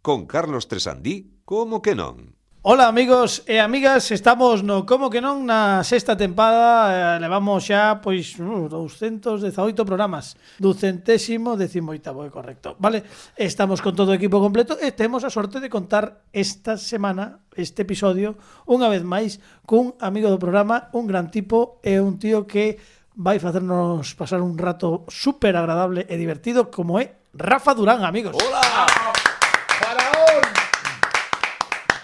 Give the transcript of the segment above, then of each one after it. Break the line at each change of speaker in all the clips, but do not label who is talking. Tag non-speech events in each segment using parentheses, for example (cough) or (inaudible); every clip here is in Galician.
Con Carlos Tresandí, como que non?
Ola amigos e amigas, estamos no Como que non na sexta tempada eh, Levamos xa, pois, uh, 218 programas Ducentésimo decimoitavo, é correcto Vale, estamos con todo o equipo completo E temos a sorte de contar esta semana Este episodio, unha vez máis Cun amigo do programa, un gran tipo E un tío que vai facernos pasar un rato super agradable e divertido Como é Rafa Durán, amigos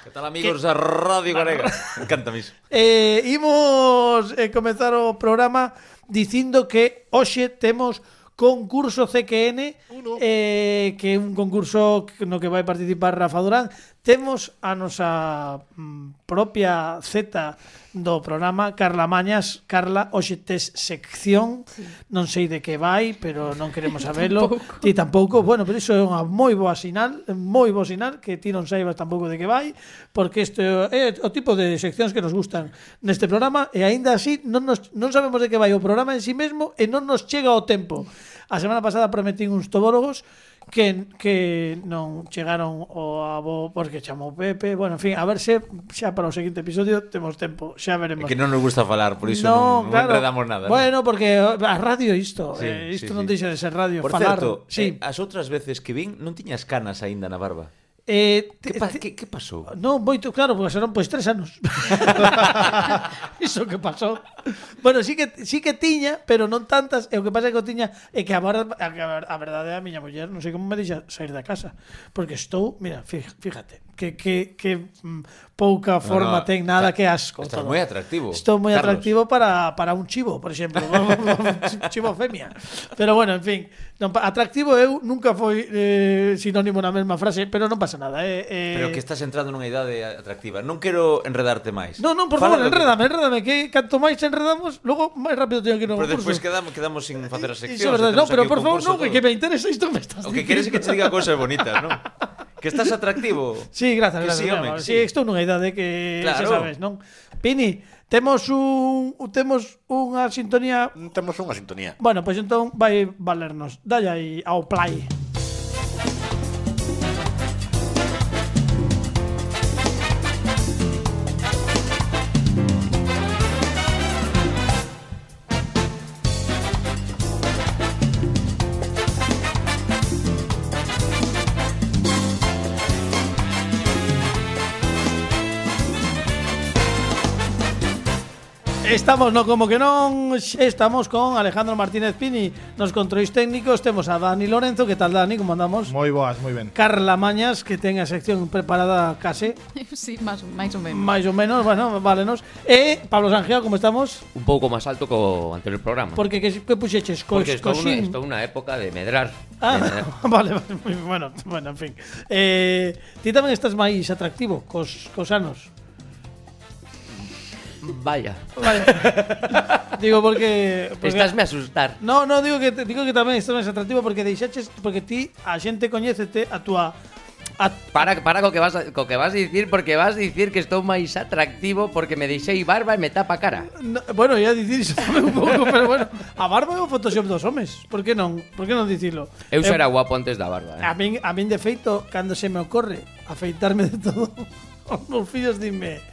Que tal, amigos da Radio Galega? Me encanta mis.
Eh, imos eh, comezar o programa dicindo que hoxe temos concurso CQN eh, que é un concurso no que vai participar Rafa Durán temos a nosa mm, propia Z do programa Carla Mañas Carla, hoxe tes sección non sei de que vai pero non queremos sabelo (laughs) ti tampouco, bueno, pero iso é unha moi boa sinal moi bo sinal que ti non saibas tampouco de que vai porque isto é o tipo de seccións que nos gustan neste programa e aínda así non, nos, non sabemos de que vai o programa en si sí mesmo e non nos chega o tempo a semana pasada prometín uns tobólogos que, que non chegaron o abo porque chamou Pepe bueno, en fin, a ver se xa para o seguinte episodio temos tempo, xa veremos
É que non nos gusta falar, por iso
No,
non, non
claro.
enredamos nada. non?
Bueno, porque a radio isto,
Sí,
eh, isto
sí,
non
sí.
deixa de ser radio,
Por
falar.
certo,
sí.
eh, as outras veces que vin non tiñas canas aínda na barba.
Eh,
Que,
te-
pa,
te-
que, que pasou?
Non, moito, claro, porque serán pois tres anos. (laughs) Iso que pasou. Bueno, sí que sí que tiña, pero non tantas, e o que pasa é que o tiña é que agora a, a, a verdade é a miña muller, non sei como me deixa sair da casa, porque estou, mira, fí- fíjate, que que que mm, pouca forma
no,
ten nada
está-
que asco.
estás
todo.
moi atractivo,
Estou moi
Carlos.
atractivo para para un chivo, por (laughs) exemplo, un chivo femia. Pero bueno, en fin, non, pa- atractivo eu nunca foi eh, sinónimo na mesma frase, pero non pasa nada, eh, eh
Pero que estás entrando nunha idade atractiva. Non quero enredarte máis.
No, no, por
Fala
favor,
do que-
enrédame, enrédame, que canto máis enredamos, logo máis rápido teño que ir ao
Pero
curso.
despois quedamos, quedamos sin facer as seccións.
Iso é verdade,
e
no,
temos
pero
aquí o
por favor,
concurso
no, que,
todo.
que me interesa isto me estás
O que
dicindo.
queres é que te diga cousas bonitas, non? Que estás
(laughs)
atractivo.
Sí, gracias,
Que
gracias.
sí,
mira,
home,
amable.
que
sí,
sí.
estou nunha idade que xa
Claro.
sabes, non? Pini, temos un temos unha sintonía
Temos unha sintonía.
Bueno, pois entón vai valernos. Dalle aí ao play. Estamos, no como que non, estamos con Alejandro Martínez Pini Nos controis técnicos temos a Dani Lorenzo Que tal Dani, como andamos?
Moi boas, moi ben.
Carla Mañas, que ten a sección preparada case
(laughs) Sí, máis, máis ou menos.
máis ou menos, bueno, válenos E Pablo Sanjeo, como estamos?
un pouco máis alto co anterior programa.
Porque que, que puxeches? Co,
Porque estou unha,
coxín?
estou unha época de medrar.
Ah, (laughs)
De medrar.
vale, vale, moi ben, bueno, bueno, en fin eh, Ti tamén estás máis atractivo cos, cos anos
Vaya,
Vale (laughs) Digo porque, porque
estás me asustar.
No, no, digo que digo que tamén estás máis atractivo porque deixaches porque ti a xente coñécete a túa a
Para, para co que vas a- co que vas a dicir porque vas a dicir que estou máis atractivo porque me deixei barba e me tapa a cara.
no, bueno, ia dicir iso tamén un pouco, pero bueno, a barba é o Photoshop dos homes. Por que non? Por que non dicilo?
Eu xa
Eh, Ah,
era guapo antes da barba.
A
Eh?
min, a min de feito, cando se me ocorre afeitarme de todo, (laughs) os meus fillos dime,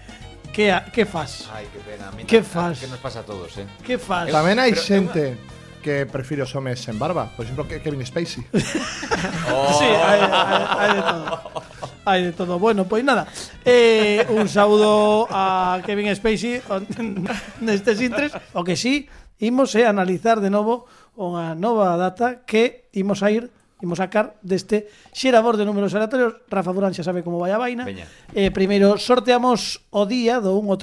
que, a- que fas?
Ai, que pena. a mí
Que
na-
fas?
Que nos pasa a todos, eh?
Que fas?
Tamén hai
Pero é
xente que prefire os homes sen barba, por exemplo, que- Kevin Spacey.
Sí, hai, hai, hai de todo. Hai de todo. Bueno, pois nada. Eh, un saúdo a Kevin Spacey (laughs) on- nestes intres. O que sí, imos é analizar de novo unha nova data que imos a ir imos sacar deste xerador de números aleatorios. Rafa Durán xa sabe como vai a vaina.
Veña.
Eh, primeiro, sorteamos o día do 1 ao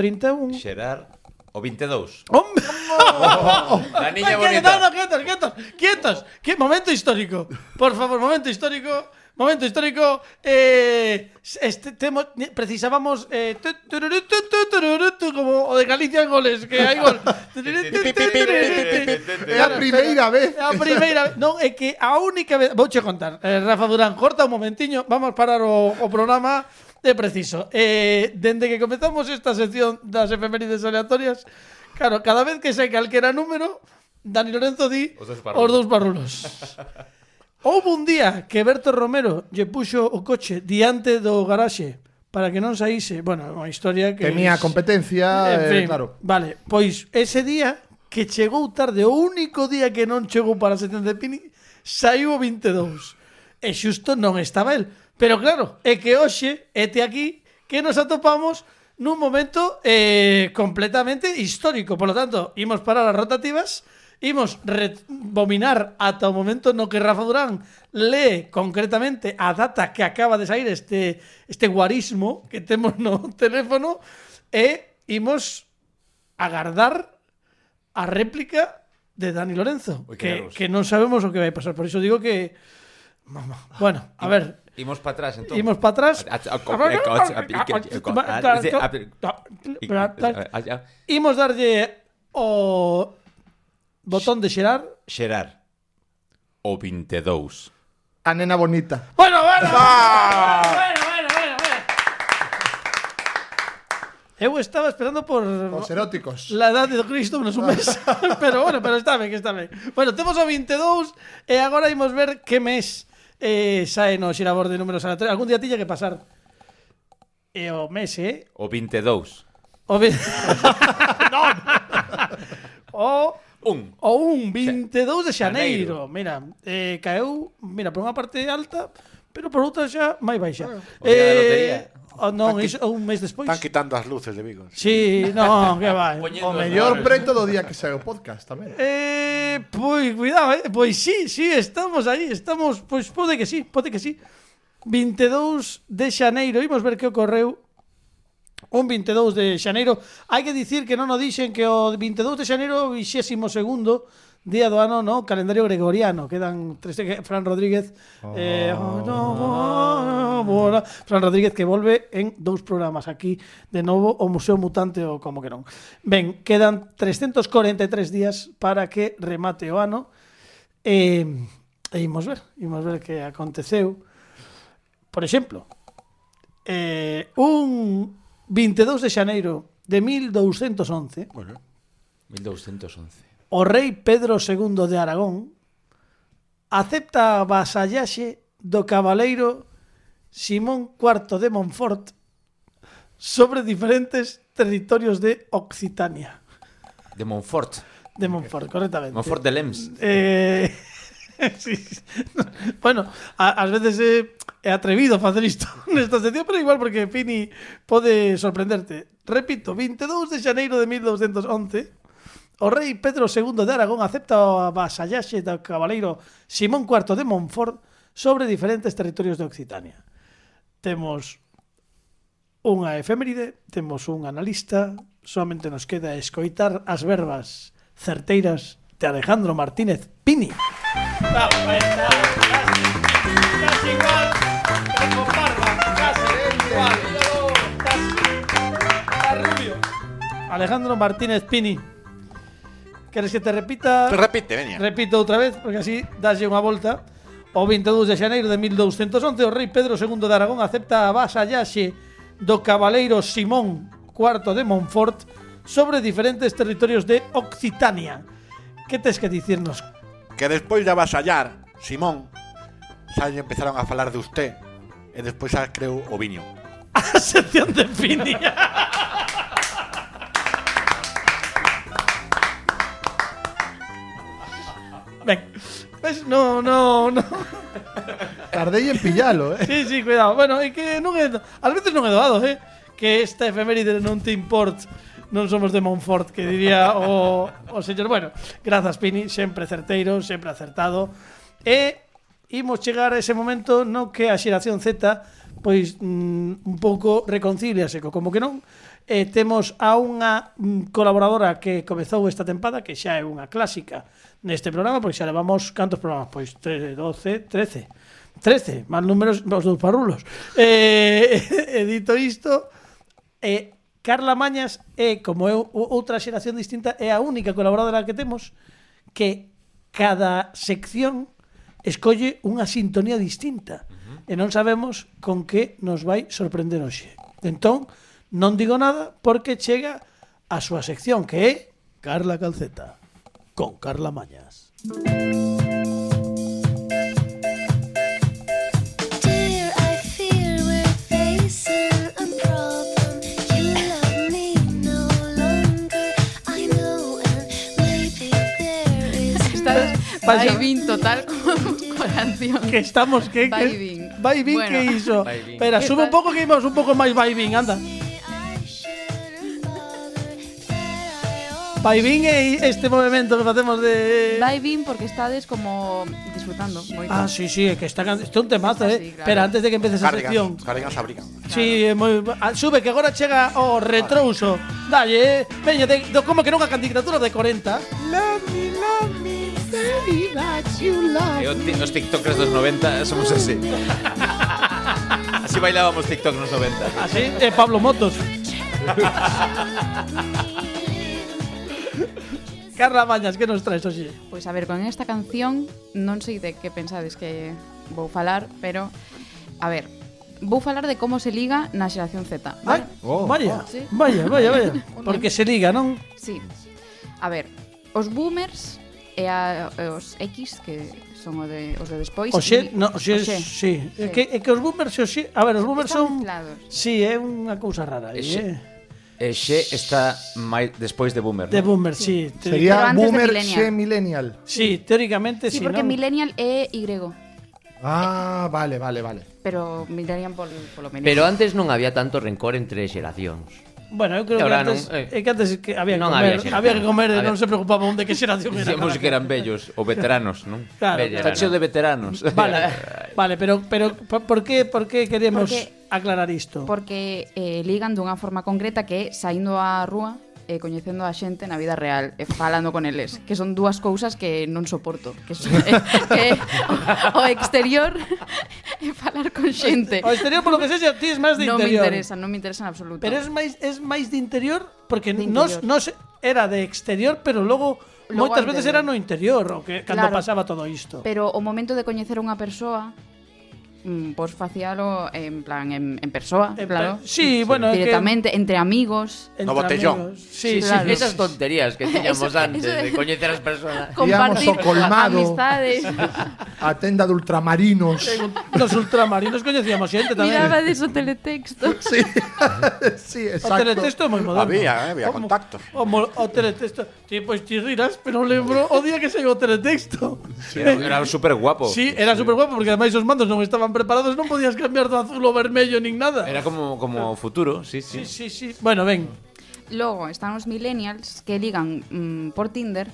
31.
Xerar o 22.
¡Hombre!
La
Ay,
niña
que-
bonita.
no, no, quietos, quietos, quietos. ¿Qué momento histórico? Por favor, momento histórico. Momento histórico. Eh, este, temo- precisábamos eh, tu, tururú, tu, tu, tururú, tu, como o de Galicia en goles, que hai gol.
É a primeira vez.
É a primeira vez. Non, é que a única vez... Vouche contar. Eh, Rafa Durán, corta un momentiño. Vamos parar o, o programa de preciso. Eh, dende que comezamos esta sección das efemérides aleatorias, claro, cada vez que sei calquera número, Dani Lorenzo di
Os dous parrulos.
Os dous parrulos. Houve un día que Berto Romero lle puxo o coche diante do garaxe para que non saíse. Bueno, é unha historia que...
Tenía
es-
competencia,
En
eh,
fin,
claro.
Vale, pois ese día que chegou tarde, o único día que non chegou para a sección de Pini, saiu o 22. E xusto non estaba el. Pero claro, é que hoxe, este aquí, que nos atopamos nun momento eh, completamente histórico. Por lo tanto, imos parar as rotativas, imos rebominar ata o momento no que Rafa Durán lee concretamente a data que acaba de sair este, este guarismo que temos no (laughs) teléfono e imos agardar a réplica de Dani Lorenzo,
Ui,
que,
que nervos.
que non sabemos o que vai pasar, por iso digo que Mamá. Bueno, a ver,
Imos para atrás, entón.
imos para atrás.
eh,
Imos darlle o botón de xerar.
Xerar. O 22.
A nena bonita.
Bueno, bueno. Bueno, bueno, bueno, bueno. Eu estaba esperando por
Los eróticos.
La edade do Cristo nos un mes. (laughs) pero bueno, pero está ben, que está ben. Bueno, temos o 22 e agora imos ver que mes eh, sae no xirabor de números aleatorios. Algún día tiña que pasar. E o mes, eh?
O 22.
O,
(laughs)
ve... o,
Un.
o un 22 de xaneiro. Mira, eh, caeu, mira, por unha parte alta, pero por outra xa máis baixa. Eh,
o día da lotería.
o non, iso é un mes despois.
Están quitando as luces de Vigo.
Sí, non, que vai.
Poñendo os
O mellor
nomes.
preto do día que sae o podcast tamén.
Eh, pois cuidado, eh. pois sí, sí, estamos aí, estamos, pois pode que sí, pode que sí. 22 de xaneiro, imos ver que ocorreu un 22 de xaneiro. Hai que dicir que non o dixen que o 22 de xaneiro é o 22º día do ano no calendario gregoriano. Quedan tres que Fran Rodríguez eh, oh, no, oh, no. Fran Rodríguez que volve en dous programas aquí de novo o Museo Mutante ou como que non. Ben, quedan 343 días para que remate o ano. E, e imos ver, imos ver que aconteceu. Por exemplo, eh, un 22 de xaneiro de 1211,
1211.
o rei Pedro II de Aragón acepta a vasallaxe do cabaleiro Simón IV de Montfort sobre diferentes territorios de Occitania.
De Montfort.
De Montfort, correctamente.
Montfort de Lems.
Eh, (laughs) sí, sí. Bueno, a- ás veces é, é atrevido facer isto (laughs) nesta sección, pero igual porque Fini pode sorprenderte. Repito, 22 de xaneiro de 1211, o rei Pedro II de Aragón acepta a vasallaxe do cabaleiro Simón IV de Montfort sobre diferentes territorios de Occitania. Temos unha efeméride, temos un analista, solamente nos queda escoitar as verbas certeiras de Alejandro Martínez Pini. Alejandro Martínez Pini. ¿Queres que te repita?
Repite, veña.
Repito outra vez, porque así dáslle unha volta. O 22 de xaneiro de 1211, o rei Pedro II de Aragón acepta a vasallaxe do cabaleiro Simón IV de Montfort sobre diferentes territorios de Occitania. Que tes que dicirnos? (laughs)
Que despois de avasallar, Simón, xa lle empezaron a falar de usted. E despois xa creu o viño.
A sección de Fini. (laughs) Ben, ves, no, no, no.
Tardei en pillalo, eh.
(laughs) Sí, sí, cuidado. Bueno, é que non é, ás veces non é doado, eh, que esta efeméride non te import. Non somos de Montfort, que diría o, o señor. Bueno, grazas, Pini, sempre certeiro, sempre acertado. E imos chegar a ese momento no que a xeración Z pois mm, un pouco reconcíliase co como que non. E temos a unha mm, colaboradora que comezou esta tempada, que xa é unha clásica neste programa, porque xa levamos cantos programas, pois 3, 12, 13. 13, máis números os dous parrulos. Eh, e (laughs) dito isto, eh, Carla Mañas é, como é o- outra xeración distinta, é a única colaboradora que temos que cada sección escolle unha sintonía distinta e non sabemos con que nos vai sorprender hoxe. Entón, non digo nada porque chega a súa sección que é Carla Calceta con Carla Mañas.
Vibing total (laughs) con canción.
Que estamos, que. que-
Vibing.
Vibing
Bueno.
que hizo.
Vibing.
Espera,
¿Qué
sube un
tal?
poco que íbamos un poco más vibing, anda. Vibing es este movimiento que hacemos de.
Vibing porque estades como disfrutando. moito.
Ah, sí, sí, que está, este es un temazo,
Ah,
eh.
sí, claro.
Pero antes de que empiece esa sección.
Cardigans, cardigans abrigan.
Sí, é moi, ah, sube que agora chega o retrouso. Dalle, eh. Veña, de, do, como que non a candidatura de 40.
E o ti- os tiktokers dos 90 somos así. Ah, así bailábamos tiktok nos 90.
Así é Ah, Pablo Motos. Carla Bañas, que nos traes hoxe?
Pois a ver, con esta canción non sei de que pensades que vou falar, pero a ver, vou falar de como se liga na xeración Z.
Ay,
vale?
Oh,
¿Eh? vaya,
oh. Sí.
vaya, vaya,
(laughs)
vaya. Porque se liga, non?
Sí. A ver, os boomers e a, e os X que son o de, os de despois.
Oxe,
e-
no, oxe,
Oxe.
sí. É
Sí.
que, é que os boomers, e oxe, a ver, os boomers
Están
son...
mezclados.
Sí, é unha cousa rara. aí,
Oxe.
eh.
E Xe está mai, despois de Boomer.
De boomers, sí. teórica-
Pero
Sería
antes de
boomer
millennial.
se millennial.
Sí, teóricamente sí,
Sí, porque
non?
millennial é Y,
Ah, vale, vale, vale.
pero millennial pol, polo menos.
Pero antes non había tanto rencor entre xeracións.
Bueno, eu creo
E
que
ahora
antes,
non,
é
eh.
que antes que había que
Non
comer,
había
había,
xeración.
que comer e
Había-
non se preocupaba un de que xeración era.
Dicíamos que eran bellos ou veteranos, non?
Claro,
Bellas.
claro.
Está cheo de veteranos.
Vale, (laughs) vale, pero pero por por que por que queremos
Porque-
aclarar isto?
porque eh, ligan dunha forma concreta que é saindo á rúa e coñecendo a xente na vida real e falando con eles, que son dúas cousas que non soporto, que, son, eh, (laughs) que é o, o exterior (laughs) e falar con xente.
O exterior polo que sexa, ti es máis de
Non me
interior.
interesa, non me interesa en absoluto.
Pero es máis es máis de interior porque
De
nos
interior.
nos era de exterior, pero logo,
Logo
moitas
al
veces era
interior.
no interior, o que cando
Claro.
pasaba todo isto.
Pero o momento de coñecer a unha persoa mm, pois facialo en plan en, en persoa,
En plan- Eh,
claro.
sí, bueno, é que-
directamente entre amigos.
Entre
No botellón.
amigos. Sí, sí.
Claro.
Esas tonterías que tiñamos
Eso-
antes
eso-
de coñecer as persoas.
Íamos ao colmado.
amistades.
(laughs)
A tenda de ultramarinos.
Nos ultramarinos coñecíamos xente tamén.
Miraba de su teletexto. (laughs)
sí. (laughs) sí,
O
exacto.
teletexto é moi moderno.
Había, eh, había
O mo-
contactos.
O, mo- o teletexto. Sí, pois ti rirás, pero lembro o día que saiu o teletexto.
Sí, (laughs) Era, era super guapo.
Sí, era super guapo porque ademais os mandos non estaban preparados, non podías cambiar do azul ao vermello nin nada.
Era como, como futuro, sí, sí.
Sí, sí, sí. Bueno, ven.
Logo están os millennials que ligan mm, por Tinder,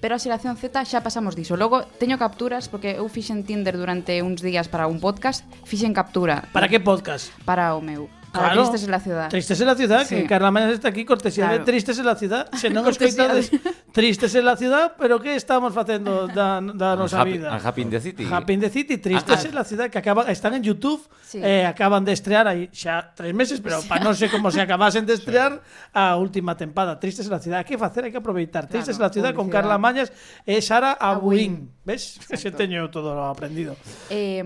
pero a xeración Z xa pasamos diso. Logo teño capturas porque eu fixen Tinder durante uns días para un podcast, fixen captura
Para que podcast?
para o meu. Para
Claro.
Tristes en la ciudad.
Tristes en la ciudad,
Sí.
que Carla Mañas está aquí, cortesía de
Claro.
Tristes en la ciudad.
(laughs)
Se non
Cortesía de-
escoitades Tristes en la ciudad, pero que estamos facendo da, da nosa
Happy,
vida?
Happy in the City.
Happy in the City, Tristes en la ciudad, que acaban, están en YouTube,
Sí.
eh, acaban de estrear aí xa tres meses, pero pa non sei como se acabasen de estrear a última tempada. Tristes en la ciudad, hai que facer, hai que aproveitar.
Claro,
Tristes en la ciudad con Carla
publicidade.
Mañas e Sara Abuín.
Abuín.
Ves? Se teño todo lo aprendido.
Eh,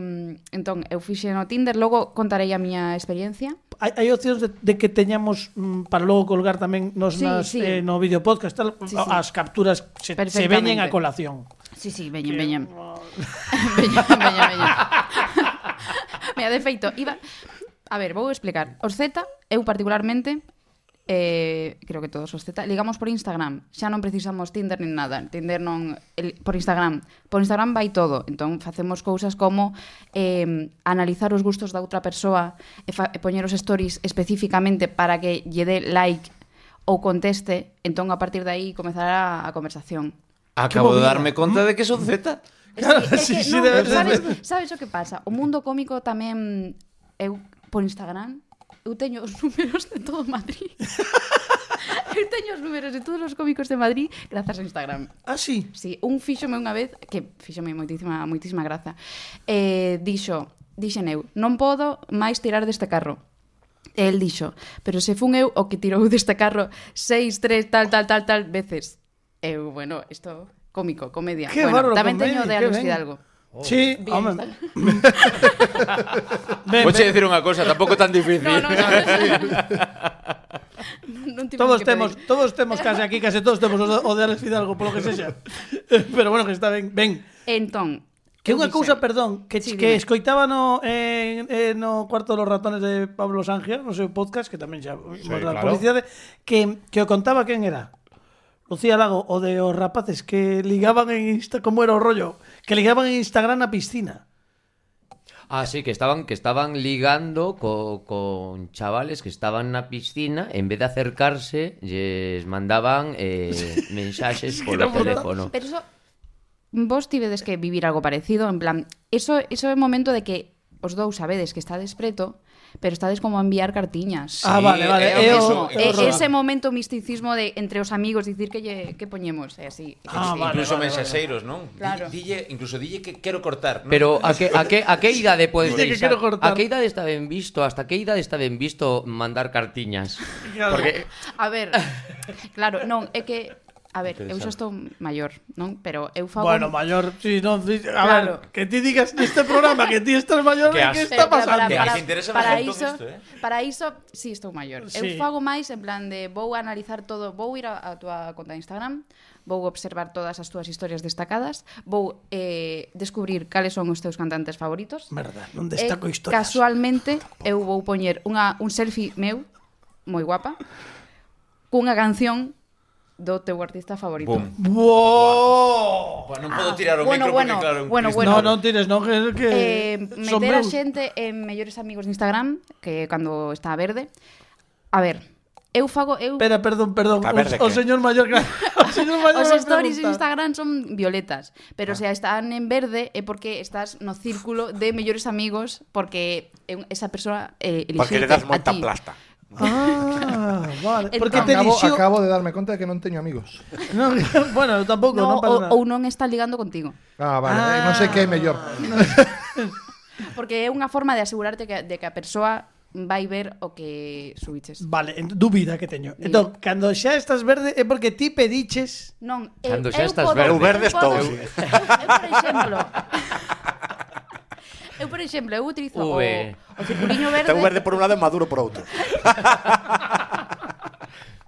entón, eu fixen o Tinder, logo contarei a miña experiencia.
Hai, hai opcións de, de que teñamos mm, para logo colgar tamén nos
Sí,
nas,
sí.
Eh, no vídeo podcast tal,
Sí, sí.
as capturas se, se veñen
Perfectamente.
a colación.
Sí, sí, veñen, veñen. (laughs) veñen, veñen, veñen. (laughs) Mira, de feito, iba... A ver, vou explicar. Os Z, eu particularmente, eh, creo que todos os Z, ligamos por Instagram. Xa non precisamos Tinder nin nada. Tinder non... El, por Instagram. Por Instagram vai todo. Entón, facemos cousas como eh, analizar os gustos da outra persoa e, fa, e poñer os stories especificamente para que lle dé like ou conteste, entón a partir de aí comezará a conversación.
Acabo de darme conta de que son Z.
Sí,
sí, sí,
é que, non,
debe ser.
sabes, sabes o que pasa? O mundo cómico tamén eu por Instagram eu teño os (laughs) números de todo Madrid. (laughs) eu teño os números de todos os cómicos de Madrid grazas a Instagram.
Ah, sí.
Sí, un fíxome unha vez que fíxome moitísima moitísima graza. Eh, dixo, dixen eu, non podo máis tirar deste carro. E el dixo, pero se fun eu o que tirou deste carro seis, tres, tal, tal, tal, tal veces. Eu, bueno, isto cómico, comedia.
Qué
bueno,
bárbaro,
tamén
comedia,
teño de
qué
Alex
ben.
Fidalgo.
Sí,
Bien,
home.
(laughs) tal.
Ven,
Voy a
ven.
decir unha cosa, tampouco tan difícil.
No, no, no. (laughs) non tiveron
Todos
que
temos,
pedir.
todos temos case aquí, case todos temos o, o de Alex Fidalgo, polo que sexa. (laughs) pero bueno, que está ben. Ben,
Entón,
que
eu
unha
dixen,
cousa, perdón, que,
Sí,
que
dime.
escoitaba no, en, en, no cuarto dos ratones de Pablo Sangia, no seu podcast, que tamén xa sí,
claro.
publicidade, que, que o contaba quen era. Lucía Lago, o de os rapaces que ligaban en Insta, ¿cómo era o rollo? Que ligaban en Instagram a piscina.
Ah, sí, que estaban, que estaban ligando co- con chavales que estaban en una piscina, en vez de acercarse, les mandaban
(laughs)
eh, mensajes por
era
el teléfono.
Pero eso, vos tivedes que vivir algo parecido, en plan, eso, eso é o momento de que os dous sabedes que estades preto, pero estades como a enviar cartiñas.
ah, vale, vale.
é eh,
é o-
o mismo,
é o
E-
rollo.
ese momento misticismo de entre os amigos dicir que lle, que poñemos, é así.
Ah,
Sí.
vale.
incluso mensaxeiros, non?
Claro.
Dille, incluso dille que quero cortar, non?
Pero a que, a que, a que idade podes
Dice que
deixar-
quero cortar.
A que idade está ben visto? Hasta que idade está ben visto mandar cartiñas?
Claro.
Porque
A ver, claro, non, é que A ver, eu xa estou maior, non? Pero eu fago...
Bueno, mayor, sí, no, sí, a
Claro.
ver, que ti digas neste programa que ti estás mayor, ¿qué,
Que as-
que está
Pero, pero
pasando?
Que as interesa
Eh, para
bastante
iso,
isto, eh?
para iso, sí, estou maior.
Sí.
Eu fago máis en plan de vou analizar todo, vou ir a, a tua conta de Instagram, vou observar todas as túas historias destacadas, vou eh, descubrir cales son os teus cantantes favoritos.
Merda, non destaco
e,
historias.
Casualmente, eu vou poñer unha, un selfie meu, moi guapa, cunha canción do teu artista favorito.
Bum.
Wow.
Buah, non podo tirar o
Bueno,
micro
bueno,
porque claro,
bueno,
Cristo-
No,
bueno.
(laughs) non tires, non que, que
eh,
son
meter a
meus.
xente en mellores amigos de Instagram, que cando está verde. A ver, eu fago eu
Espera, perdón, perdón.
Está
O,
verde,
o
que-
señor mayor,
(laughs)
claro. O señor mayor
Os
me
stories en
pregunta.
Instagram son violetas, pero se están en verde é porque estás no círculo de mellores amigos porque é un- esa persona eh, elixe
Porque le das
a
monta
ti.
plasta.
Ah, vale. Porque te
Acabo,
elixiu...
acabo de darme cuenta de que no teño amigos.
(laughs) No, bueno, eu tampouco, non
No,
pasa
ou,
nada.
ou non está ligando contigo.
Ah, vale. eh, no sé qué es mejor.
Porque é unha forma de asegurarte que, de que a persoa vai ver o que subiches.
Vale, ent- dúbida que teño.
Diga.
Entón, cando xa estás verde é porque ti pediches
Non, eu,
Cando
eu
xa estás
podo,
verde. Eu
verde estou,
podo-
sí.
Eu, eu, por exemplo... (laughs) Eu, por exemplo, eu utilizo o,
V.
o circuliño
Está
verde.
un verde por un lado y maduro por otro.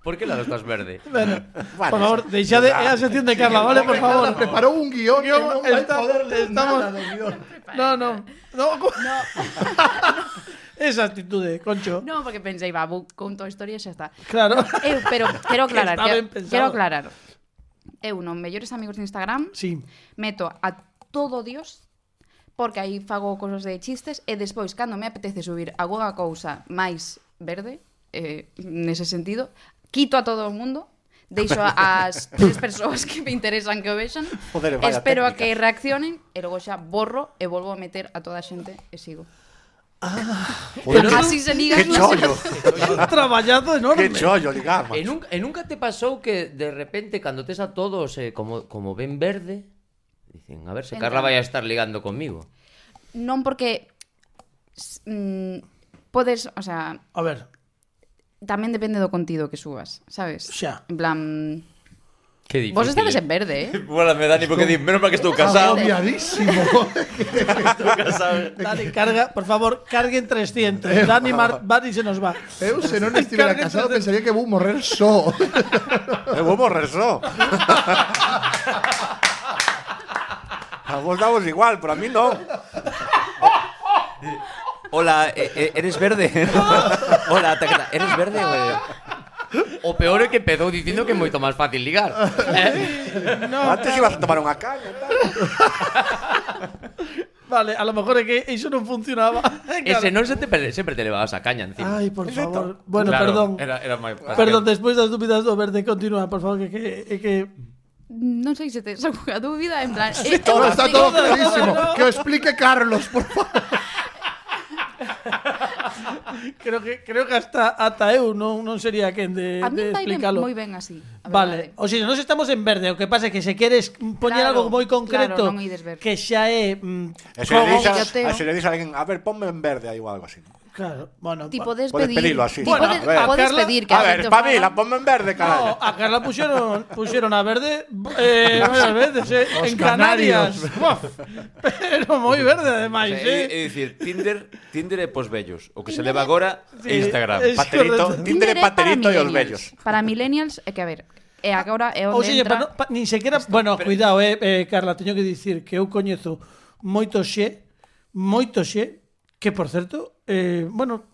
¿Por qué lado estás verde?
Vale.
Por favor, deixade é a sección de Carla, vale, por favor.
Preparó un guión. que no va a
Está-
poder leer
estamos-
nada del guión.
No, no. No. co- (laughs) Esa actitude, Concho.
Non, porque pensei, va, vou conto a historia e xa está.
Claro.
Eu, pero quero
Que
aclarar,
está ben
quero,
pensado.
quero aclarar. Eu non mellores amigos de Instagram
Sí.
meto a todo Dios porque aí fago cosas de chistes e despois cando me apetece subir algunha cousa máis verde eh, nese sentido quito a todo o mundo deixo
(laughs)
as tres persoas que me interesan que o vexan
Joder, vaya
espero a
técnica.
que reaccionen e logo xa borro e volvo a meter a toda a xente e sigo
Joder,
así se ligan
qué
las-
chollo.
Un traballado enorme.
Qué chollo, digamos.
E nunca, e nunca te pasou que de repente cando tes a todos eh, como, como ven verde, dicen, a ver se Carla
Entran.
vai a estar ligando conmigo.
non porque s- mm, podes, o sea,
A ver,
tamén depende do contido que subas, sabes?
Xa.
En plan,
Qué difícil.
vos estades
eh.
en verde, eh?
Bueno, me Dani porque di, menos mal que estou casado.
Agobiadísimo.
(laughs) Dani, carga, por favor, carguen 300. Dani, Mar Dani se nos va.
Eu, se non estivera
Carga
casado,
entre-
pensaría que vou morrer só.
Me vou morrer só. A vos damos igual, pero a mí no.
Hola, e- e- eres
(laughs)
verde. Hola, taqueta, eres verde. güey?
O peor é que empezou dicindo que é moito máis fácil ligar.
(laughs)
Eh,
Antes ibas a tomar unha caña. e tal.
Vale, a lo mejor é que iso non funcionaba. (laughs)
E
Claro.
se non se te perde, sempre te levabas a caña encima.
Ai, por favor. Bueno,
Claro,
perdón.
Era, era máis fácil.
Perdón, despois das dúbidas do verde, continúa, por favor, que que, que
Non sei se tes alguna dúbida, en plan... eh,
(laughs) Todo
eu-
está
sí,
todo
todas,
clarísimo.
todas, ¿no?
Que o explique Carlos, por favor.
creo que creo que hasta ata eu non non sería quen de,
A mí
de
vai ben,
explicalo.
moi ben así. ¿eh? a
Vale,
verdade.
o sea, nos estamos en verde, o que pasa é que se queres poñer
Claro,
algo moi concreto
claro, non ides verde.
que xa é mm,
E se le
Como
dixas-
guilloteo.
e se le dixas a alguén, a ver, ponme en verde aí ou algo así.
claro, bueno.
Ti
pa-
podes
Podes
pedir...
pedilo así.
Ti
Bueno,
podes,
a ver.
podes
Carla-
pedir que
A
alguén
ver,
te
espabila,
faga.
ponme en verde,
No, ah,
caralho.
a Carla pusieron, pusieron a verde eh, varias veces, eh, en Canarias.
canarios.
Buf, pero moi verde ademais,
O sea,
eh.
é, é dicir, Tinder, Tinder é pos vellos. O que se leva agora é
Sí,
Instagram.
es
Paterito, Tinder
correcto.
e
Tinder é para
paterito e os
millennials.
vellos.
Para millennials, é que a ver, eh, é agora é
Ou
onde
seja,
entra...
pa, pa, nin sequera, bueno, cuidado, eh, eh, Carla, teño que dicir que eu coñezo moito xe, moito xe, que por certo, eh, bueno,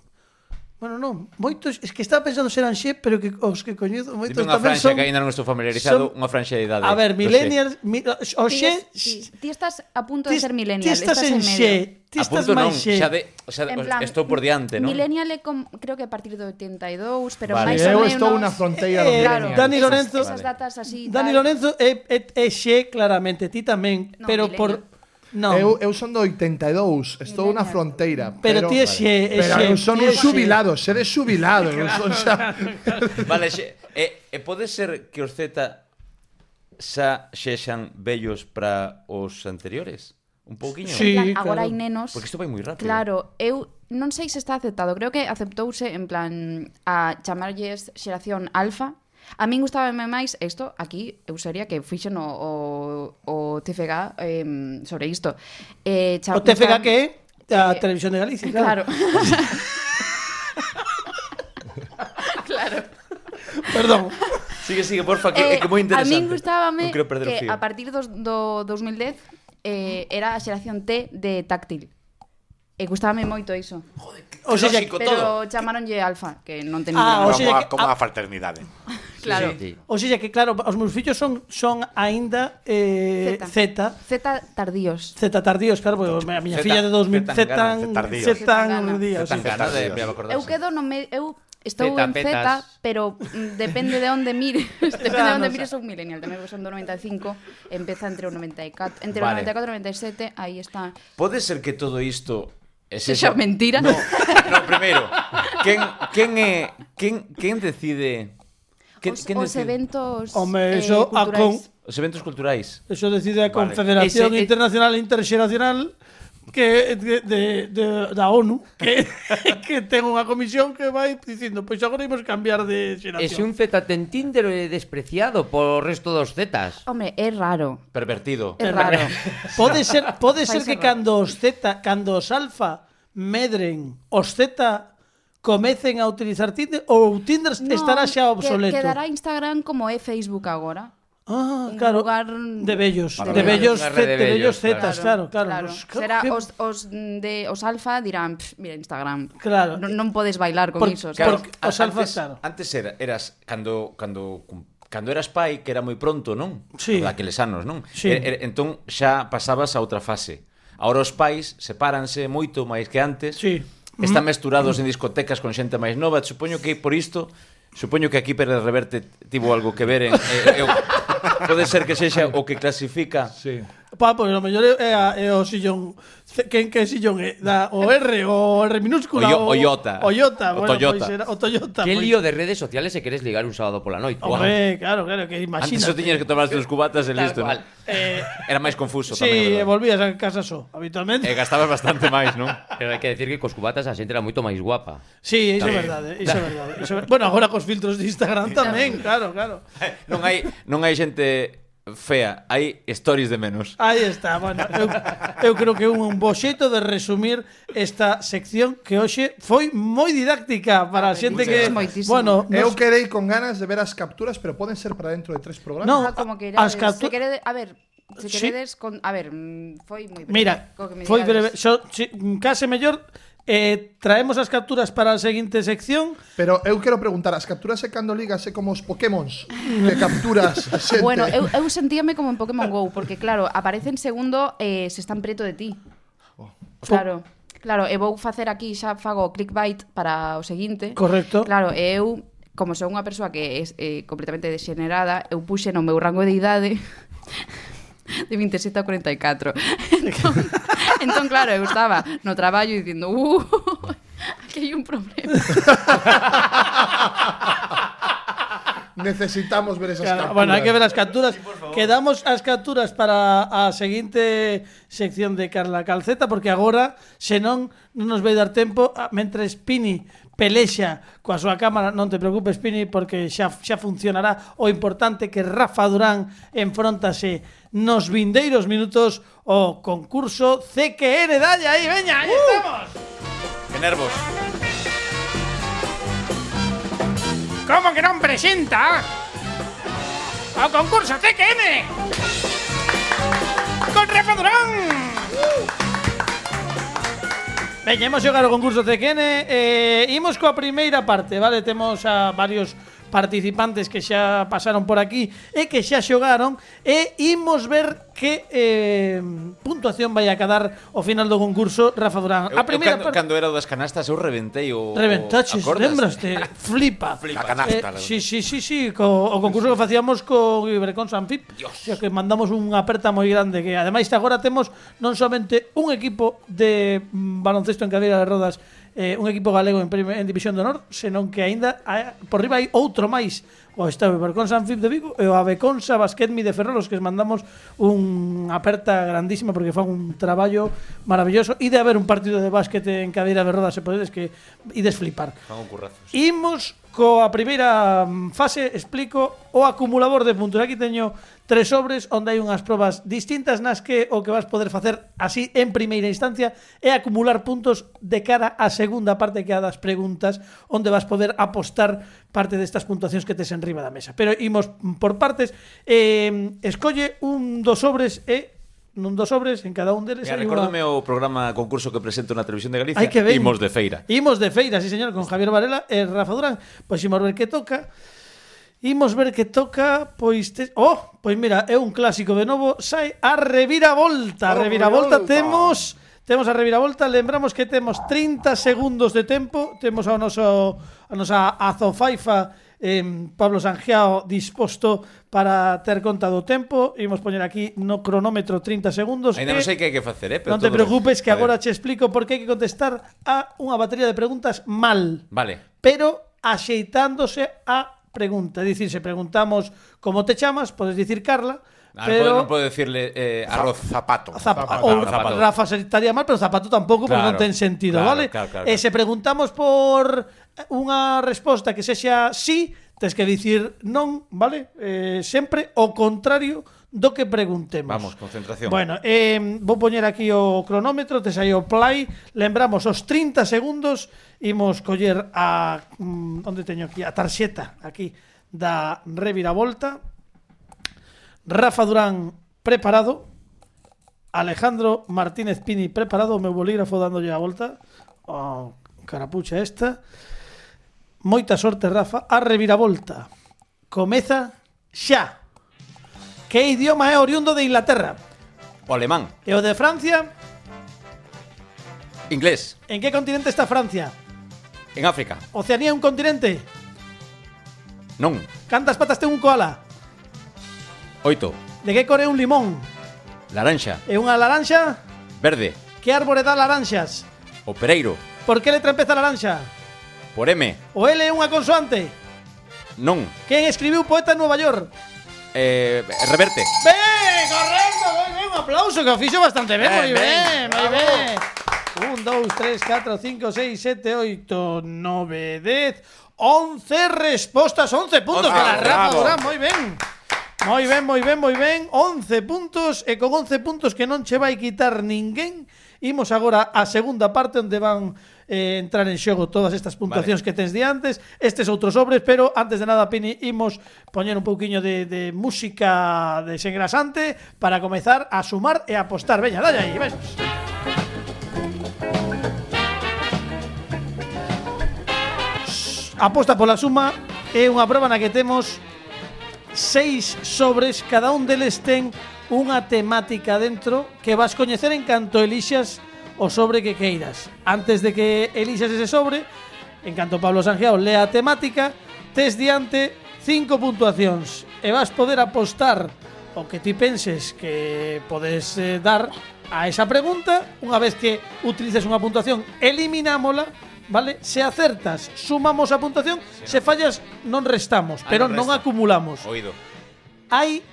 Bueno, non, moitos, es que estaba pensando serán xe, pero que os que coñezo moitos
Dime unha
tamén
franxa
son
que ainda non estou familiarizado,
son-
unha franxa de idade.
A ver,
do
millennials, mi, o
Ti
xe,
es- ti- ti estás a punto de
ti-
ser millennial.
ti estás, en xe,
medio.
ti
A
estás
punto non,
máis xe.
xa de, o sea,
En plan,
estou por diante, non?
Millennial é com, creo que a partir do 82, pero
Vale.
máis
eu
ou menos...
estou na fronteira do
Eh,
Claro,
millennial.
Dani
esas-
Lorenzo-
Esas datas así...
Dani
tal.
Lorenzo é, é, é xe claramente, ti tamén,
Non,
pero por non.
Eu, eu son do 82, estou na
Millennial.
fronteira.
Pero
Pero,
ti es xe- es
pero
xe-
eu son
ti
un
es xe.
xubilado, ser xubilado. eu son xa...
(laughs)
Vale, xe, e, e pode ser que os Z xa xexan vellos para os anteriores? Un pouquiño?
En
Sí.
plan,
claro.
agora hai nenos...
Porque isto vai moi rápido.
Claro, eu non sei se está aceptado, creo que aceptouse en plan a chamarlles xeración alfa. A min gustábame máis isto, aquí eu sería que fixen o, o, o TFG eh, sobre isto. Eh, cha-
O TFK
cham-
que é a
Eh,
Televisión de Galicia,
Claro.
(laughs)
claro.
(laughs)
Perdón.
Sigue, sigue, porfa, que é
Eh,
que moi
a
interesante.
min gustábame
Non quero perder o
que
fío.
a partir dos, do 2010 eh, era a xeración T de táctil. E gustábame moito iso.
O sea,
Lógico. Todo.
Pero chamaronlle alfa, que non tenía
Ah,
nada.
o
Como,
sea
a,
que-
como
ah.
a fraternidade.
claro.
Sí, sí.
O sea que claro, os meus fillos son son aínda eh,
Zeta.
Z.
Z tardíos.
Z tardíos, claro, porque a miña
Zeta-
filla de 2000 Z
Zetangana,
Zetardíos.
Z tan
Zetangana.
días.
Tan
sí.
gana de,
Dios.
me acordarse.
Eu quedo no me, eu estou en
Zetapetas.
Z, pero mm, depende de onde
(laughs)
mires, (laughs) depende
Xa,
de
non
onde
xa.
mires son millennial, tamén porque son do 95, empeza entre o 94, entre
Vale.
o 94 e o 97, aí está.
Pode ser que todo isto é
Se xa mentira. (laughs)
No, no primeiro. Quen, quen é, quen, quen decide... Quen,
Os,
quen
os
decide?
eventos
Home,
eh,
eso a con
culturais.
Os eventos culturais.
Eso decide a
Vale.
Confederación
Ese-
Internacional Interxeracional que de, de, de, da ONU
(laughs)
que, que ten unha comisión que vai dicindo pois agora imos cambiar de
E se un
xeración.
Z ten Tinder é despreciado por resto dos Zetas.
Home, é raro.
Pervertido.
É raro.
Pode ser pode
Vai
ser
ser
que
raro.
cando os Z, cando os alfa medren, os Z comecen a utilizar Tinder ou Tinder (laughs) estará xa obsoleto.
Que, quedará Instagram como é Facebook agora.
Ah,
Un
claro.
lugar-
De bellos,
Para
de bellos,
bellos.
Una
Z-
red de
de bellos
bellos,
zetas, claro, claro. Nos-
Será
que-
os, os de os alfa dirán, "Pff, mira Instagram.
Claro.
Non, non podes bailar con
Por-
iso,
Claro,
sabes?
porque
a-
os alfas,
antes,
claro.
antes era, eras cando cando cando eras pai, que era moi pronto, non?
Sí.
Daqueles anos, non?
Sí.
E- e- entón xa pasabas a outra fase. Ahora os pais sepáranse moito máis que antes.
Sí.
Están mesturados en discotecas con xente máis nova, supoño que por isto Supoño que aquí Pérez Reverte tivo algo que ver en, eh, eu, pode ser que sexa o que clasifica
Sí.
Pa, pois o mellor é, a- é o sillón ce- Quen que sillón é? Da,
(laughs)
o R, o R minúscula
O yo- o Iota.
O Iota,
O
bueno,
Toyota.
pois era- o Toyota
Que
pois.
lío de redes sociales se queres ligar un sábado pola noite.
Hombre, claro, claro, que
Antes
imagina
só tiñas que tomarse uns cubatas e
Tal
listo,
cual.
non? (laughs) Era máis confuso
Sí,
tamén, é
e
verdad. Eh,
volvías a casa só, habitualmente
E gastabas bastante máis,
(laughs)
non?
Pero hai que decir que cos cubatas a xente era moito máis guapa.
Sí, iso é verdade, iso é verdade iso é ver- Bueno, agora cos filtros de Instagram tamén, claro, claro
(laughs) Eh, non hai non hai xente fea, hai stories de menos.
Aí está, bueno, eu, eu creo que é un bo xeito de resumir esta sección que hoxe foi moi didáctica para a xente que...
Moitísimo.
Bueno, nos-
Eu quedei con ganas de ver as capturas, pero poden ser para dentro de tres programas.
No.
Ah, como
as
que irades,
captu-
se querede, a ver, se
Sí.
queredes con, a ver, mm, foi moi breve.
Mira,
co que me
foi breve.
digades.
Xo, si, case mellor eh, traemos as capturas para a seguinte sección.
Pero eu quero preguntar, as capturas e cando ligas é como os pokémons que capturas a xente.
Bueno, eu, eu sentíame como en Pokémon GO, porque claro, aparecen segundo eh, se están preto de ti. Claro. Claro, e vou facer aquí xa fago clickbait para o seguinte.
Correcto.
Claro, e eu como son unha persoa que é eh, completamente degenerada, eu puxe no meu rango de idade (laughs) de 27 a 44. (laughs) Entón, entón claro, eu estaba no traballo dicindo, uh, (laughs) aquí hai un problema.
Necesitamos ver esas
Claro,
capturas.
Ah, bueno, hai que ver as capturas. Quedamos as capturas para a seguinte sección de Carla Calceta porque agora, senón, non nos vai dar tempo a- mentre Pini pelexa coa súa cámara, non te preocupes Pini porque xa xa funcionará o importante que Rafa Durán enfrontase nos vindeiros minutos o concurso CQN dalle aí, veña, aí
Uh!
estamos.
Que nervos.
¿Cómo que non presenta? ¡Ao concurso TQN! ¡Con Rafa Durán!
Veña, imos xogar o concurso CQN eh, Imos coa primeira parte, vale? Temos a varios participantes que xa pasaron por aquí E que xa xogaron E imos ver que eh, puntuación vai acadar o final do concurso Rafa Durán A
Eu,
primeira
eu cando, cando era o das canastas eu reventei o
Reventaches,
o, acordas?
lembraste? Flipa.
A
Flipa.
canasta,
Eh,
la
sí, sí, sí, sí, co, o concurso que facíamos co Ibercon Sanfip. Dios. Que mandamos unha aperta moi grande que ademais agora temos non somente un equipo de mm, baloncesto en cadeira de rodas, eh, un equipo galego en, prime- en División de Honor, senón que aínda hai- por riba hai outro máis. O está o Ibercon Sanfip de Vigo e o Abeconsa Basquetmi de Ferrol, os que mandamos unha aperta grandísima porque fan un traballo maravilloso. E de haber un partido de básquet en cadeira de rodas, se podedes que ides flipar.
(laughs) Fan un currazo. sí.
Imos coa primeira mm, fase, explico o acumulador de puntos. Aquí teño tres sobres onde hai unhas probas distintas nas que o que vas poder facer así en primeira instancia é acumular puntos de cara á segunda parte que é a das preguntas onde vas poder apostar parte destas puntuacións que tes enriba da mesa. Pero imos mm, por partes. Eh, escolle un dos sobres e nun dos sobres en cada un deles hai
Mira, recórdame
unha...
o programa concurso que presento na televisión de Galicia.
Hai que ver.
Imos de feira.
Imos de feira, sí señor, con Javier Varela e Rafa Durán. Pois imos ver que toca. Imos ver que toca, pois... Te... Oh, pois mira, é un clásico de novo. Sai a reviravolta. A
Oh,
reviravolta
reviravolta.
temos... Temos a reviravolta, lembramos que temos 30 segundos de tempo, temos ao noso a nosa azofaifa em, Pablo Sangiao disposto para ter conta do tempo. Imos poñer aquí no cronómetro 30 segundos.
Ainda
e-
non sei que hai que facer, eh, pero
non te
todo
preocupes que
ben. A ver.
agora che explico por que hai que contestar a unha batería de preguntas mal,
Vale.
pero axeitándose a pregunta. É dicir, se preguntamos como te chamas, podes dicir Carla,
Ah,
pero
non podo decirle eh, arroz.
Zapato.
Zap-
Zapato,
ou
zapato.
Rafa se estaría mal, pero zapato tampouco, porque non
Claro,
ten sentido,
claro,
vale?
claro, claro,
E
claro.
se preguntamos por unha resposta que sexa sí, tes que dicir non, vale? Eh, sempre o contrario do que preguntemos.
Vamos, concentración.
Bueno, eh, vou poñer aquí o cronómetro, tes aí o play, lembramos os 30 segundos, imos coller a mm, onde teño aquí a tarxeta aquí da reviravolta. Rafa Durán preparado. Alejandro Martínez Pini preparado, o meu bolígrafo dándolle a volta. Oh, carapucha esta. Moita sorte, Rafa. A reviravolta. Comeza xa. Que idioma é oriundo de Inglaterra?
O alemán,
E o de Francia?
inglés,
En que continente está Francia?
en África.
Oceanía é un continente?
Non.
Cantas patas ten un koala?
Oito.
De que cor é un limón?
Laranxa,
E unha laranxa?
verde,
Que árbore dá laranxas?
o pereiro,
Por que letra empeza a laranxa?
por M,
O L é unha consoante?
non.
Quen escribiu Poeta en Nova York?
Eh, reverte.
Ben, correcto, moi ben, un aplauso que o fixo bastante ben, moi ben, moi ben. 1, 2, 3, 4, 5, 6, 7, 8, 9, 10, 11 respostas, 11 puntos
Once,
para Rafa
bravo.
Durán, moi ben. Moi ben, moi ben, moi ben. 11 puntos e con 11 puntos que non che vai quitar ninguén. Imos agora á segunda parte onde van eh, entrar en xogo todas estas puntuacións vale. que tens de antes, estes outros sobres, pero antes de nada, Pini, imos poñer un pouquiño de, de música desengrasante para comezar a sumar e a apostar. Veña, dalle aí, vexos. Aposta pola suma é unha proba na que temos seis sobres, cada un deles ten unha temática dentro que vas coñecer en canto elixas o sobre que queiras. Antes de que elixas ese sobre, en canto Pablo Sangeao lea a temática, tes diante cinco puntuacións e vas poder apostar o que ti penses que podes eh, dar a esa pregunta. Unha vez que utilices unha puntuación, eliminámola, vale? Se acertas, sumamos a puntuación, se fallas, non restamos,
Ah,
pero non
non resta.
acumulamos
Oído.
hai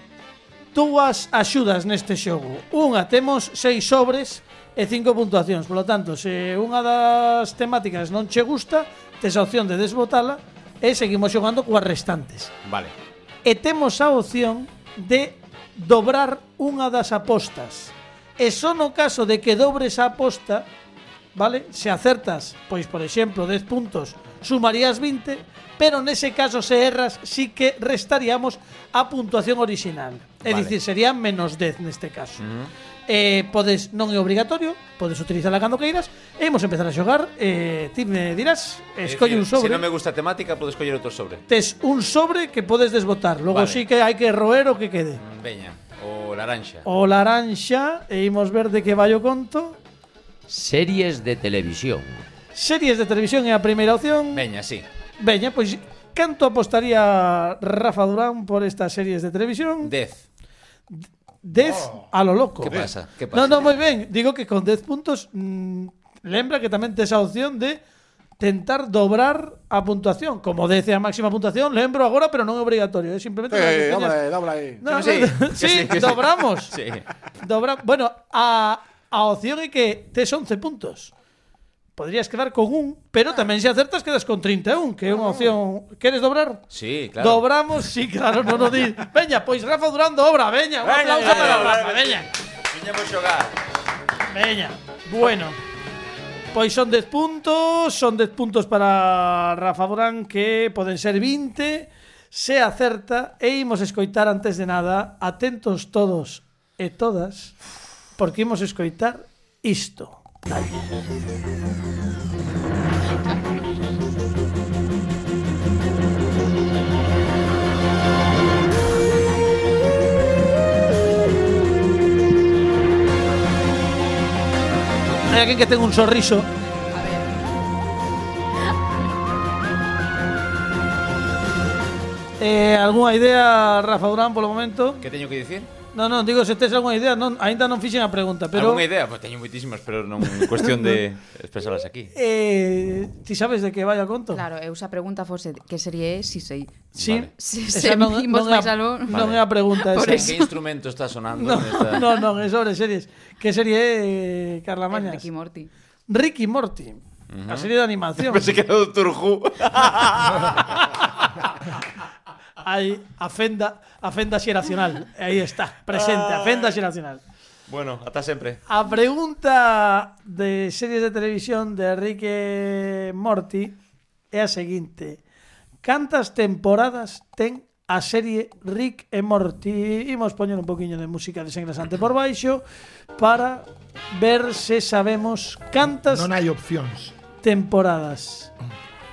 dúas axudas neste xogo. Unha, temos seis sobres e cinco puntuacións. Por lo tanto, se unha das temáticas non che gusta, tes a opción de desbotala e seguimos xogando coas restantes.
Vale.
E temos a opción de dobrar unha das apostas. E só no caso de que dobres a aposta, vale? Se acertas, pois por exemplo, 10 puntos, sumarías 20, pero nese caso se erras, sí que restaríamos a puntuación orixinal. É
Vale. Mm-hmm.
dicir, sería menos 10 neste caso. Eh, podes, non é obrigatorio, podes utilizarla cando queiras e imos empezar a xogar. Eh, ti me dirás, escolle un sobre.
Se non me gusta a temática, podo escoller outro sobre.
Tes un sobre que podes desbotar. Logo
Vale.
sí que hai que roer o que quede.
Mm, Veña, o laranxa.
O laranxa, e imos ver de que vai o conto.
Series de televisión.
Series de televisión é a primeira opción.
Veña, sí.
Veña, pois canto apostaría Rafa Durán por estas series de televisión?
10.
Dez a lo loco.
Que Oh. pasa? Que pasa?
No, no, moi ben. Digo que con 10 puntos mm, lembra que tamén tes a opción de tentar dobrar a puntuación. Como 10 é a máxima puntuación, lembro agora, pero non é obrigatorio, é simplemente para que
Eh,
teñas-
hombre, dobla ahí.
No,
Sí,
no,
sí,
sí,
que sí.
dobramos.
Sí.
Dobra- bueno, a, a opción é que tes 11 puntos. Podrías quedar con un, pero tamén se acertas quedas con 31, que é unha opción. Queres dobrar?
(laughs) Sí, claro.
Dobramos, sí, claro, non o di. Veña, pois Rafa Durán dobra, veña, un
Veña,
aplauso para
veña,
Rafa, veña,
veña. Viñemos xogar.
veña. Bueno, pois son 10 puntos, son 10 puntos para Rafa Durán que poden ser 20 se acerta e imos escoitar antes de nada, atentos todos e todas, porque imos escoitar isto. Hai alguén que ten un sorriso Eh, algunha idea, Rafa Durán, polo momento?
Que teño que dicir?
Non, non, digo se tes algunha idea, non, aínda non fixen a pregunta, pero
Algúnha idea? Pois teño moitísimas, pero
(laughs)
non cuestión de expresarlas aquí.
eh, ti sabes de que vai a conto?
Claro, eu xa pregunta fose que sería é si sei.
Sí.
Vale.
Se,
Esa
se
non,
vimos
non, é a,
máis algo...
non é a pregunta esa.
Por
Que
eso.
instrumento está sonando
No,
nesta?
no, non, é sobre series. Que serie é, eh, Carla
É
Mañas?
Ricky Morty.
Ricky Morty. A serie de animación.
Pensei que era o Dr. (laughs) Who.
Hai a fenda, a fenda xeracional. Aí está, presente, a
Ah.
fenda xeracional.
bueno, ata sempre.
A pregunta de series de televisión de Enrique Morty é a seguinte. Cantas temporadas ten a serie Rick e Morty? Imos poñer un poquinho de música desengrasante por baixo para ver se sabemos cantas
Non hai opcións.
temporadas.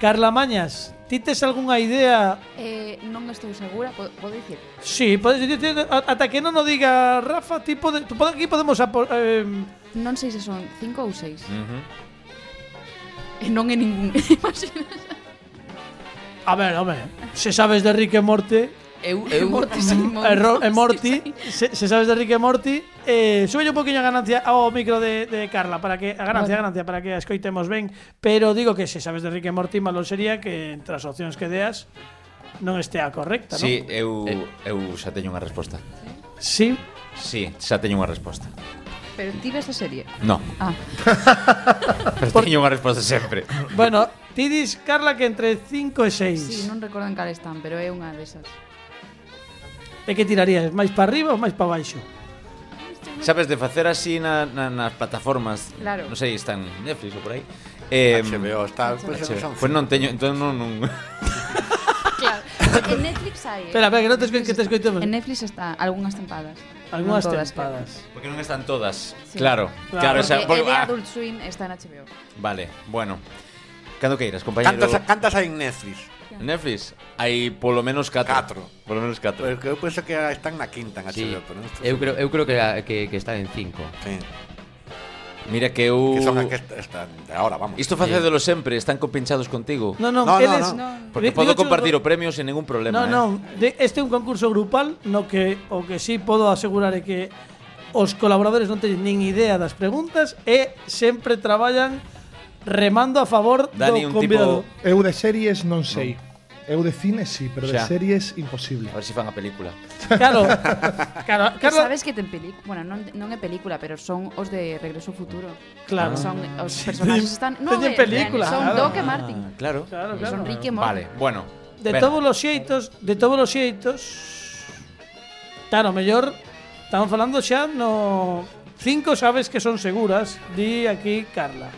Carla Mañas, ti tes algunha idea?
Eh, non estou segura, po- podo dicir.
Sí, podes dicir, ata que non o diga Rafa, ti pode, tu pode- aquí podemos apo- em,
Non sei se son cinco ou seis.
Mm.
E non é ningún. (laughs) Imaginas?
A ver, home, se sabes de Rick e Morty,
Eu, eu,
Morty, sí,
e, Ro-
(laughs)
e
sí,
Morty,
sí.
se, se sabes de Rick e Morty, eh, súbelle un poquinho a ganancia ao micro de, de Carla, para que a ganancia, a
Vale.
ganancia, para que a escoitemos ben, pero digo que se sabes de Rick e Morty, malo sería que entre as opcións que deas non estea correcta,
Sí,
non?
eu, eu xa teño unha resposta.
Sí.
Sí, xa teño unha resposta.
Pero ti ves a serie.
No,
Ah,
pero (laughs) teño unha resposta sempre.
Bueno, (laughs) ti dis, Carla, que entre 5 e 6.
sí, non recordo en cal están, pero é unha desas.
E que tirarías? Máis para arriba ou máis para baixo?
Sabes, de facer así na, na, nas plataformas
Claro.
Non sei, están Netflix ou por aí eh,
HBO, está. Pues,
HBO.
son-
Pois non teño, entón non, non
(laughs) (laughs) Claro, en Netflix hai. eh.
Espera, espera, que non te escoit- que te escoitemos.
En Netflix está algunhas tempadas.
Algunhas
Non todas,
tempadas.
Porque non están todas
Sí.
Claro,
Claro.
claro, claro
Pero...
esa,
Porque
porque,
é de
ah,
Adult Swim está en HBO.
Vale, bueno Cando queiras, compañero
¿Cantas, cantas hay en Netflix?
Netflix Hai polo menos 4
Catro.
Polo menos 4
Porque yo pienso Pues que están en la quinta en
Ah,
HBO,
sí,
pero no estoy
eu, creo, eu creo que, a- que, que está en 5.
seguro. Sí.
Mira que eu
Que son las que est- están de ahora, vamos.
Isto facédelo sempre, están compinchados contigo
Non, non,
No, no,
eles...
no.
Porque
Di-
podo
digo,
compartir
chungo-
o premio sen ningún problema
No,
eh.
non, de- este é un concurso grupal no que o que sí podo asegurar é que os colaboradores non teñen nin idea das preguntas e sempre traballan remando a favor
Dani,
do
un
convidado.
tipo-
Eu de series non sei. Eu de cine sí, pero de
Xa.
series imposible.
A ver se si fan a película
Claro. claro,
Que
Carla,
sabes que ten película, bueno, non, non é película, pero son os de Regreso ao Futuro.
Claro. Ah.
Son os personaxes están, no,
(laughs) Teñen
eh,
película,
Son
claro.
Doc e Martin.
Ah, Claro
Claro, claro.
Son Rick e Morty.
Vale, Pues, bueno
De
venga.
todos os xeitos, de todos os xeitos. Claro, mellor estamos falando xa no cinco sabes que son seguras, di aquí Carla.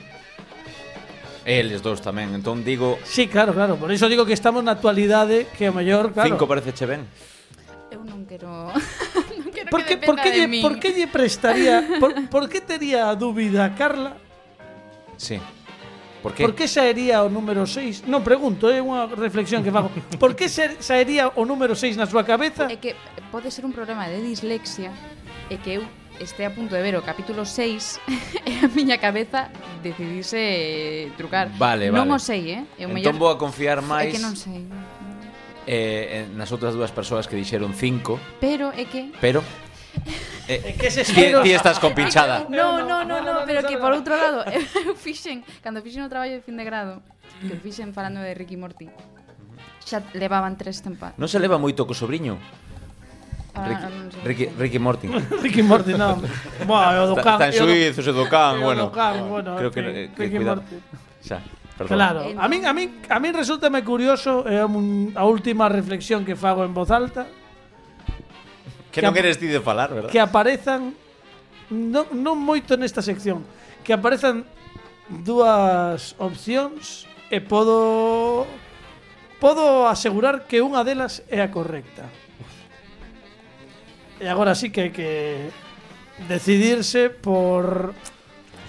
Eles dous tamén, entón digo
Sí, claro, claro, por iso digo que estamos na actualidade que o mellor, claro.
Cinco parece che ben
Eu non quero (laughs) creo
por
que
que, por
dependa
que
de
lle-
min.
por que lle
(laughs)
prestaría, por, por que tería a dúbida a Carla?
Sí. Por que?
Por que saería o número 6? Non pregunto, é unha reflexión que fago. Por que ser, saería o número 6 na súa cabeza?
É que pode ser un problema de dislexia e que eu este a punto de ver o capítulo 6 (laughs) e a miña cabeza decidise eh, trucar.
Vale,
Non
vale.
o sei, eh? Eu
Entón vou a confiar
É
máis
que non sei.
eh, en- nas outras dúas persoas que dixeron cinco,
Pero é que
pero
(laughs) É
eh,
que se
ti, ti estás
(laughs)
compinchada.
No, no, no, no, pero que por outro lado, (laughs) eu fixen, cando fixen o traballo de fin de grado, que o fixen falando de Ricky Morty, xa levaban tres ah, tempadas.
Non se leva moito co sobriño. Ricky, Ricky, Ricky
(laughs)
Morty.
(laughs) Ricky Morty, non. Buah, é o do can.
Está- está
é
en
o do-
Suizos, é do can,
é o
bueno.
do can, bueno,
Creo que,
en fin,
eh, que
Ricky
cuidado.
Morty.
Xa, perdón.
Claro,
Eh,
a min a min a min resultame curioso é un- a última reflexión que fago en voz alta,
Que
Que
non
a-
eres ti de falar, verdad?
que aparezan non, non moito nesta sección, que aparezan dúas opcións e podo podo asegurar que unha delas é a correcta. E agora sí que hai que decidirse por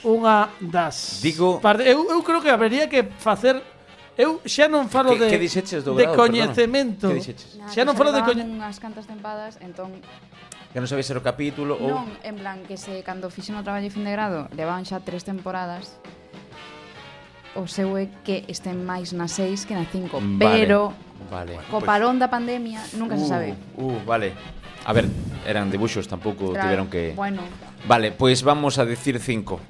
unha das.
Digo-
Par- eu, eu creo que habería que facer eu xa non falo
Que-
de
que dixeches do
de
grado,
coñecemento.
perdona? Que dixeches?
Xa non falo de coñe...
coño... unhas cantas tempadas, entón,
Que non sabes ser o capítulo
Oh.
ou
non, en plan, que se cando fixen o traballo de fin de grado, levaban xa tres temporadas, o seu é que estén máis na seis que na cinco,
Vale,
pero
Vale.
co parón da pandemia nunca se sabe.
Uh, uh, vale. A ver, eran debuxos, tampouco
Claro,
tiveron que
Bueno,
Vale, pois vamos a decir cinco.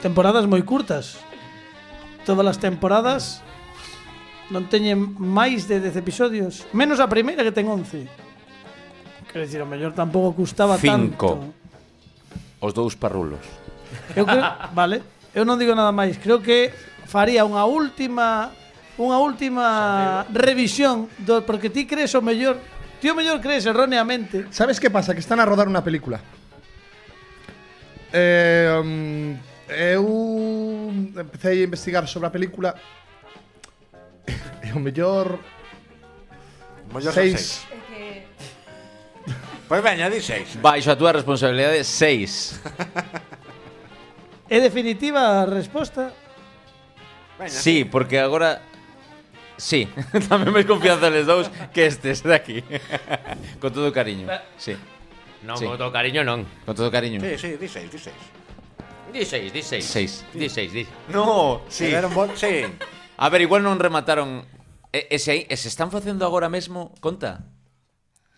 temporadas moi curtas. Todas as temporadas non teñen máis de 10 episodios, menos a primeira que ten 11. Quero dicir, o mellor tampouco custaba
Cinco.
tanto.
Os dous parrulos.
Eu creo, vale, eu non digo nada máis, creo que faría unha última unha última revisión do porque ti crees o mellor, ti o mellor crees erróneamente.
¿Sabes qué pasa? Que están a rodar una película. Eh, mm, eu empecé a investigar sobre a película (laughs) e o mellor
Mellor son
seis.
Pues seis. Pois veña, di seis.
Baixo a túa responsabilidade, seis.
É definitiva a resposta?
Veña,
Sí, porque agora... Sí, (laughs) tamén máis confianza les dous que estes de aquí. (laughs) Con todo cariño. Sí,
Non,
Sí.
con todo cariño non.
con todo cariño.
Sí, sí, di seis, di seis.
Di seis, di seis.
Seis.
Di seis, di.
No, sí.
Se deron bon- Sí.
A ver, igual non remataron... E, e, se, hai- e se están facendo agora mesmo conta?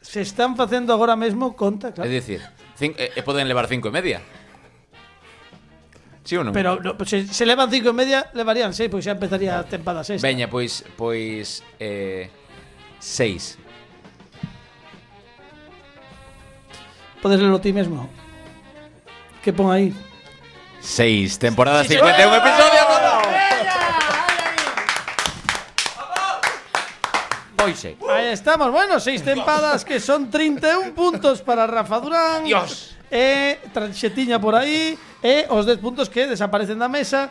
Se están facendo agora mesmo conta,
É
claro.
dicir, cin, e, e poden levar cinco e media. Sí ou non?
Pero no, pues, se, se levan cinco e media, levarían seis, porque xa empezaría a tempada sexta.
Veña, pois, pois, pues, eh, seis.
Podes lelo ti mesmo. Que pon aí.
Seis, temporada 51 episodios.
Poise.
Aí estamos, bueno, seis tempadas que son
(laughs)
31 puntos para Rafa Durán.
Dios.
E tranxetiña por aí E os 10 puntos que desaparecen da mesa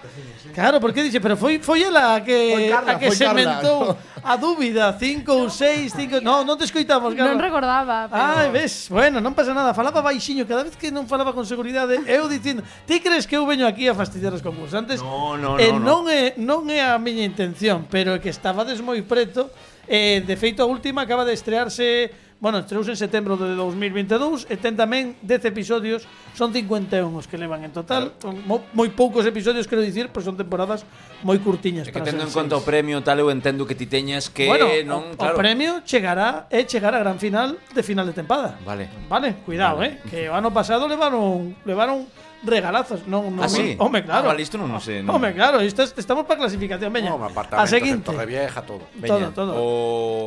Claro, porque dixe Pero foi, foi ela a que,
Foi Carla,
a que
foi Carla. (laughs)
sementou A dúbida 5 ou 6 cinco... No, non te escoitamos, Carla
non recordaba, pero...
Ai, ves, bueno, non pasa nada Falaba baixiño, cada vez que non falaba con seguridade Eu dicindo, ti crees que eu veño aquí a fastidiar os concursantes?
No, no,
e
no, no.
non é, non é a miña intención Pero é que estabades moi preto eh, De feito, a última acaba de estrearse Bueno, estreouse en setembro de 2022 E ten tamén 10 episodios Son 51 os que levan en total Mo- Moi poucos episodios, quero dicir Pero son temporadas moi curtiñas
É que
para ser
tendo en conta o
seis.
premio tal, eu entendo que ti teñas que
bueno, o,
non,
o
claro.
premio chegará é chegar a gran final de final de tempada.
Vale.
Vale, cuidado, eh, que o ano pasado levaron levaron regalazos, non non.
Ah, sí?
Home, claro.
Ah, vale, isto non o sei, non.
Home, claro, isto es- estamos para clasificación, veña.
Home,
a
apartamentos en
seguinte.
Torrevieja, todo.
Todo, todo.
O,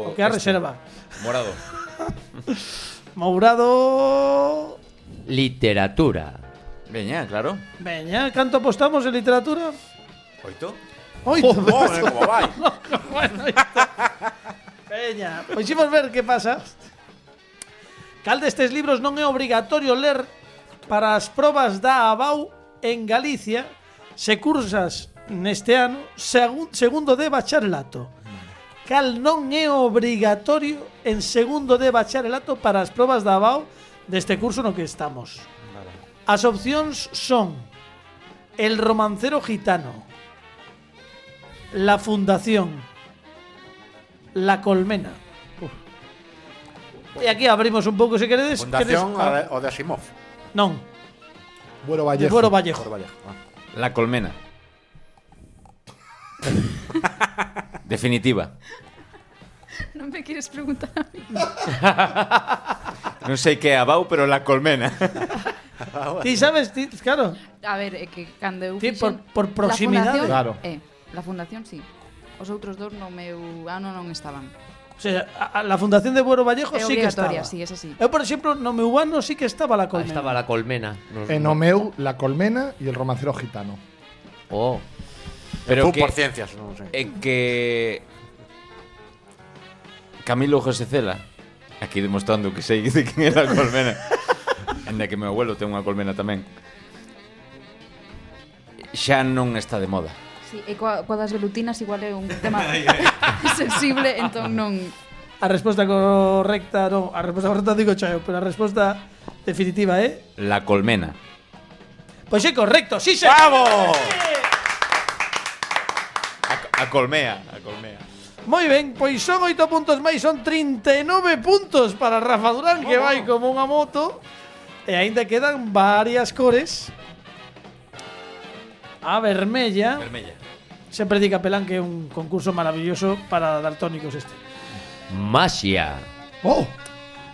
O que a
este,
reserva.
Morado.
Mourado
Literatura.
Veña, claro.
Veña, canto apostamos en literatura?
Oito.
Oito.
Joder, como vai.
bueno, isto. Veña, pois imos ver que pasa. Cal destes libros non é obrigatorio ler para as probas da ABAU en Galicia se cursas neste ano segun, segundo de bacharelato. cal non é obrigatorio en segundo de bacharelato para as probas da ABAO deste curso no que estamos. As opcións son El romancero gitano, La fundación, La colmena. Uf. E aquí abrimos un pouco se queredes.
Fundación
queredes- Ah,
o de- o de Asimov.
Non,
Bueno,
Vallejo.
Vallejo.
Buero Vallejo.
Por Vallejo. Ah.
La (laughs) colmena. Definitiva.
Non me queres preguntar a mí.
Non sei que é Abau, pero la colmena.
Ti sabes, ti, claro.
A ver, é que cando eu
Sí,
fixen-
por- por
La
proximidade.
Claro.
fundación- É, la fundación sí. Os outros dos no meu ano non estaban.
O sea, a- a la fundación de Buero Vallejo
É
sí que
obrigatoria,
estaba.
sí, esa sí.
Eu, por exemplo, no meu ano sí que estaba la
Ahí
colmena. Eh,
estaba la colmena. Nos-
En Omeu, E La Colmena y El Romancero Gitano.
Oh.
Pero
Tú
que,
por ciencias, no sé.
é que Camilo José Cela aquí demostrando que sei de quen era a (laughs) colmena. Ainda que meu abuelo ten unha colmena tamén. Xa non está de moda.
Sí, e coa, coa das velutinas igual é un tema (laughs) sensible, entón non...
A resposta correcta, non, a resposta correcta digo xa eu, pero a resposta definitiva é... Eh?
La colmena.
Pois é correcto, sí, se.
¡Vamos!
A, a colmea, a colmea.
Moi ben, pois son 8 puntos máis, son 39 puntos para Rafa Durán, que vai como unha moto. E aínda quedan varias cores. A vermella.
Vermella.
Sempre di Capelán que é un concurso maravilloso para daltónicos este.
Masia.
¡Oh!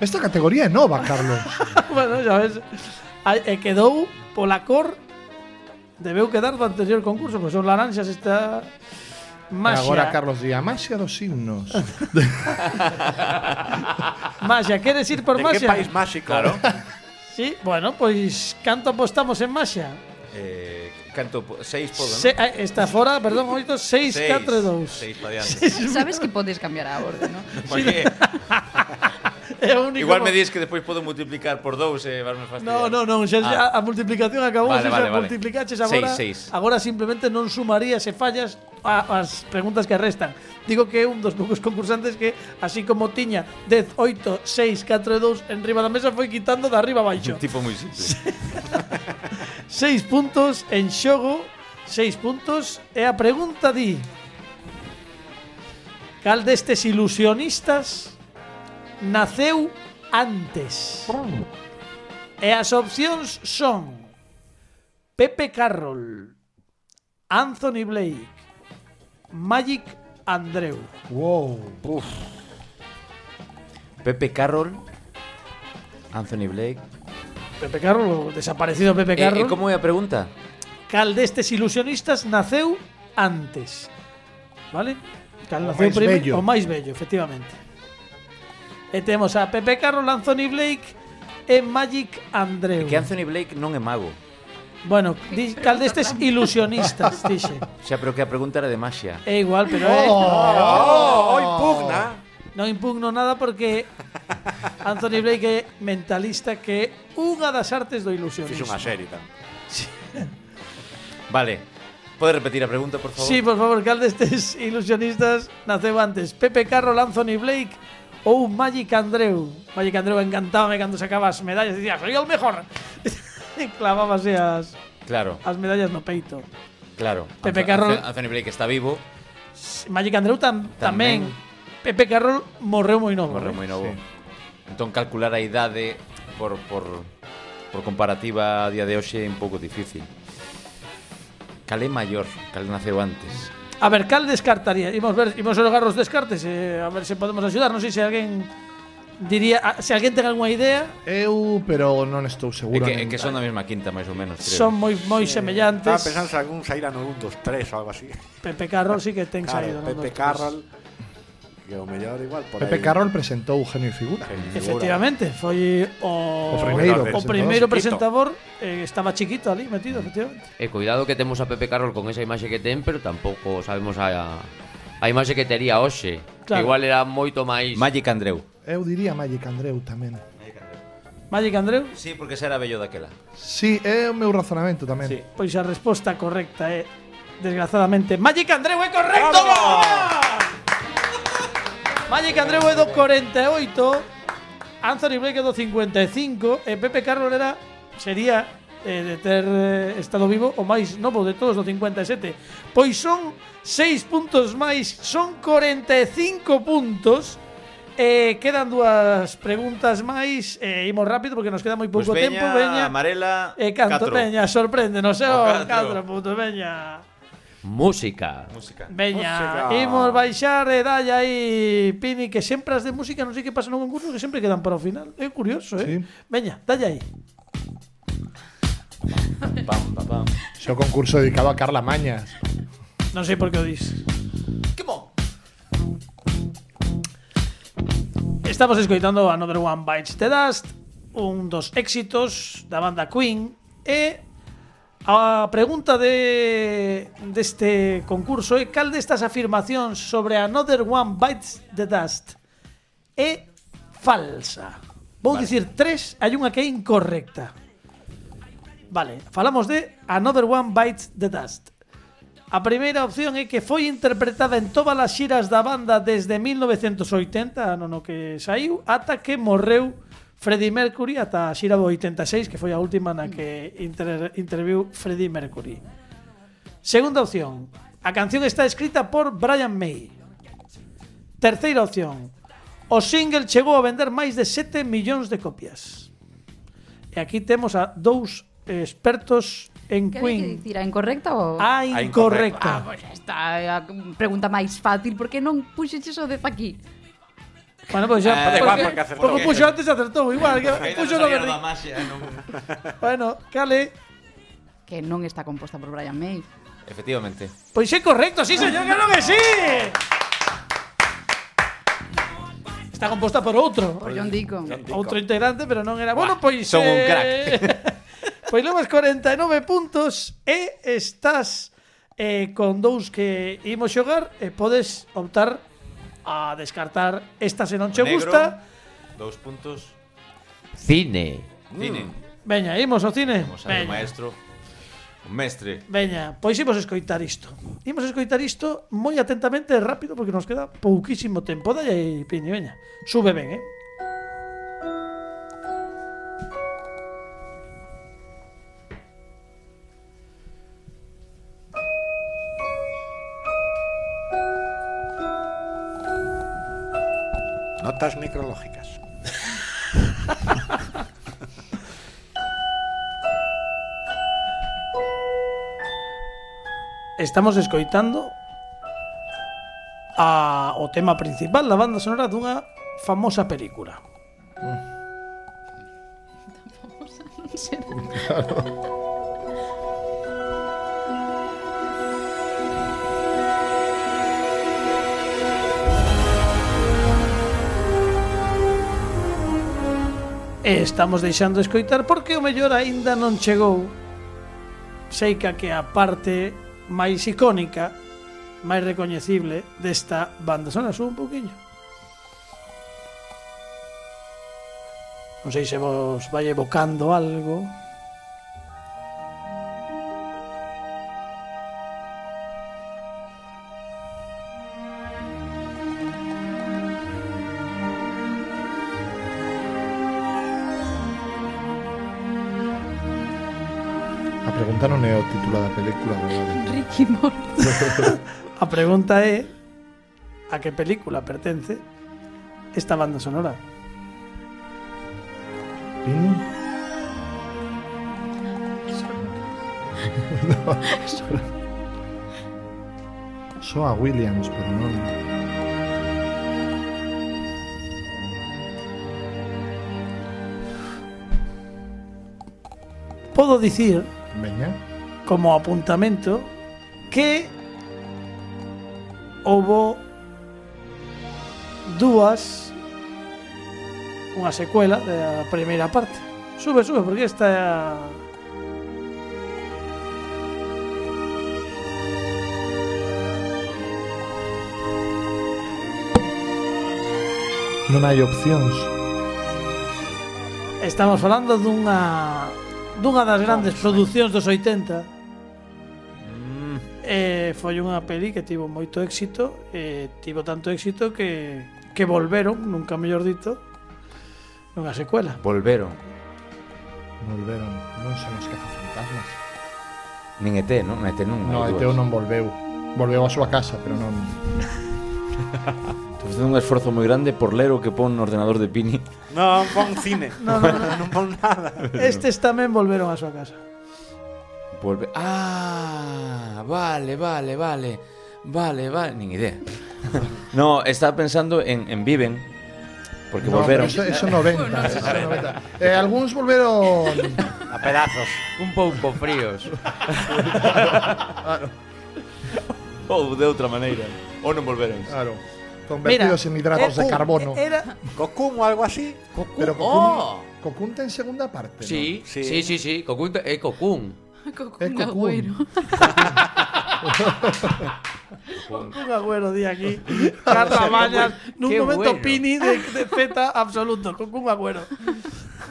Esta categoría es nova, Carlos.
(laughs) bueno, xa ves. Ai, E quedou pola cor Debeu quedar do anterior concurso, pois son laranxas esta
Ahora
Maxia.
Agora, Carlos, di Amasia dos himnos.
Maxia, queres ir por
¿De
Maxia?
qué país mágico? Claro.
Sí, bueno, pois canto apostamos en Maxia?
Eh, canto po- seis podo, non?
Se, ah, está fora, perdón, oito, seis,
Seis,
catro e dous.
Seis pa diante.
Sabes que podes cambiar a orde, non?
Porque
(laughs) É o único
igual
mo-
me dis que despois podo multiplicar por dous e eh, varme
No,
fastidiar.
no, non, xa, xa
Ah.
a multiplicación acabou, vale,
Vale,
xa
vale, vale.
multiplicaches
Seis,
agora.
seis.
Agora simplemente non sumarías e fallas a, as preguntas que restan. Digo que é un dos poucos concursantes que así como tiña 10, 8, 6, 4 e 2 en riba da mesa foi quitando de arriba a baixo.
Un tipo moi simple.
6 puntos en xogo, 6 puntos e a pregunta di Cal destes ilusionistas naceu antes? E as opcións son Pepe Carroll, Anthony Blake, Magic Andreu.
wow.
Pepe Carroll, Anthony Blake.
Pepe Carroll, o desaparecido Pepe
E, e
Carroll.
como é a pregunta?
Cal destes ilusionistas naceu antes. ¿Vale? Cal
O
naceu
máis
primeiro,
bello.
o máis bello, efectivamente. E temos a Pepe Carroll, Anthony Blake e Magic Andreu.
Que Anthony Blake non é mago.
Bueno, di, cal destes ilusionistas, dixe.
O sea, pero que a pregunta era de Masia.
É igual, pero
Oh.
(laughs) Eh, ¡Oh! ¡Hoy pugna!
é, non impugno nada porque Anthony Blake é mentalista que é unha das artes do
Es
ilusionismo.
una serie también.
Vale. Pode repetir a pregunta, por favor?
Sí, por favor, cal destes (laughs) ilusionistas naceu antes. Pepe Carroll, Anthony Blake ou Magic Andreu. Magic Andreu encantábame cando sacaba as medallas e dicía, soy o (laughs) mellor. e clavábase as,
Claro,
as medallas no peito.
claro.
Pepe
Anth-
Carroll-
Anth- Anthony Blake está vivo.
Magic Andreu tam, tamén.
Tamén.
Pepe Carroll morreu moi novo.
Morreu
eh?
moi novo. Entón calcular a idade por, por, por comparativa a día de hoxe é un pouco difícil. Cal é maior, cal naceu antes.
A ver, cal descartaría? Imos ver, imos xogar os descartes, eh, a ver se podemos axudar, non sei se alguén diría, a- se alguén ten algunha idea,
Eu, pero non estou
É
seguro.
que, é
nin-
que son da mesma quinta, máis ou menos, creo.
son moi moi
Estaba
semellantes.
pensando en algún Sairan 2, 3 o algo así.
Pepe Carroll sí que ten
Claro,
saído, non?
Pepe
Dos, tres.
Carroll. Que o mellor igual por aí.
Pepe Carroll presentou Eugenio y Figura.
Efectivamente, foi o,
O
o
primeiro presentador.
primeiro
Chiquito.
presentador eh, estaba chiquito ali metido, efectivamente.
E Eh, cuidado que temos a Pepe Carroll con esa imaxe que ten, pero tampouco sabemos a a imaxe que tería hoxe.
Claro.
Que Igual era moito máis
Magic Andreu.
Eu diría Magic Andreu tamén.
Magic Andreu,
Sí, porque será bello daquela.
Sí, é o meu razonamento tamén.
Sí.
pois a resposta eh. correcta é desgraciadamente Magic Andreu é correcto. Magic Andreu é 248, Anthony Blake é 255, e Pepe Carroll era sería eh, de ter eh, estado vivo o máis novo de todos do 57. Pois son 6 puntos máis, son 45 puntos. Eh, quedan dúas preguntas máis, eh, imos rápido porque nos queda moi pouco
Pois
tempo, veña.
amarela,
E canto,
catro.
veña, sorpréndenos, eh,
O catro.
4 puntos, veña.
Música.
Música.
Veña,
Música.
imos baixar e dalle aí, Pini, que sempre as de música non sei que pasa no concurso que sempre quedan para o final. É curioso, eh?
Sí.
Veña, dalle aí.
Pam, pam, pam.
Yo concurso dedicado a Carla Mañas.
Non sei por que o dis. Estamos escoitando Another One Bites the Dust, un dos éxitos da banda Queen e a pregunta de deste concurso é cal destas afirmacións sobre Another One Bites the Dust é falsa. Vou dicir tres, hai unha que é incorrecta. Vale, falamos de Another One Bites the Dust. A primeira opción é que foi interpretada en todas as xiras da banda desde 1980, ano no que saiu, ata que morreu Freddie Mercury, ata a xira do 86, que foi a última na que inter interviu Freddie Mercury. Segunda opción, a canción está escrita por Brian May. Terceira opción, o single chegou a vender máis de 7 millóns de copias. E aquí temos a dous eh, expertos en
Que hai que
Queen. Ah,
dicir, a incorrecta ou...?
A incorrecta.
Ah, pois esta é a pregunta máis fácil, porque non puxeches o dedo aquí?
Bueno, pues pois xa,
Ah, da
porque,
igual, porque acertou.
porque puxo antes e acertou igual,
(laughs)
que puxo no verde. Bueno, cale.
Que non está composta por Brian May.
Efectivamente.
Pois é pues correcto, sí, señor, claro que sí. Está composta por outro.
Por John Deacon.
Outro integrante, pero non era. Bueno, pues, eh, pois
son un crack.
(laughs) pois levas 49 puntos e estás eh, con dous que imos xogar e podes optar a descartar esta se non che
Negro,
gusta.
Dos puntos.
Cine.
Cine.
Veña, imos ao cine.
Vamos a
Veña.
ver, maestro. Un mestre.
Veña, pois imos escoitar isto. Imos escoitar isto moi atentamente e rápido porque nos queda pouquísimo tempo. Dalle aí, Piñi, veña. Sube ben, eh?
Notas micrológicas.
Estamos escoitando a, o tema principal da banda sonora dunha famosa película. (laughs) E estamos deixando escoitar porque o mellor aínda non chegou. Sei que a que a parte máis icónica, máis recoñecible desta banda sonora sube un pouquiño. Non sei se vos vai evocando algo.
A pregunta non é o título da película, verdade?
Ricky (laughs) Morty.
A pregunta é a que película pertence esta banda sonora.
Pini? Soa Williams, pero non.
Podo dicir
Veña.
como apuntamento que houbo dúas unha secuela da primeira parte. Sube, sube, porque esta é a...
Non hai opcións.
Estamos falando dunha dunha das grandes producións dos 80. E foi unha peli que tivo moito éxito, e tivo tanto éxito que que volveron, nunca mellor dito, nunha secuela.
Volveron.
Volveron, non son os cazafantasmas.
Nin ET, non? ET non.
No,
hai
ET
dúas.
non volveu. Volveu á súa casa, pero non...
Estou facendo un esforzo moi grande por ler o que pon no ordenador de Pini.
No, pon cine.
(laughs) No, no,
(laughs)
no.
non pon nada.
Estes tamén volveron á súa casa.
Volve. Ah, vale, vale, vale. Vale, vale, nin idea. (laughs) no, estaba pensando en, en Viven. Porque
No,
volveron.
pero Eso, eso 90,
(laughs)
eso 90. Eh, algúns volveron...
A pedazos.
Un pouco fríos.
Ou de outra maneira. Ou non volveron.
Claro. Convertidos en hidratos de
eh,
carbono.
Era,
Cocoon o algo así.
Pero
¡Oh!
Cocoon, Cocoon ten segunda parte,
Sí,
Sí.
sí, sí, sí, sí. Cocoon, eh, Cocoon.
Cocún
Cocún.
Agüero.
Un agüero di aquí. Carla Mañas, nun
Qué
momento
bueno.
pini de, de feta absoluto, con un agüero.
¿no?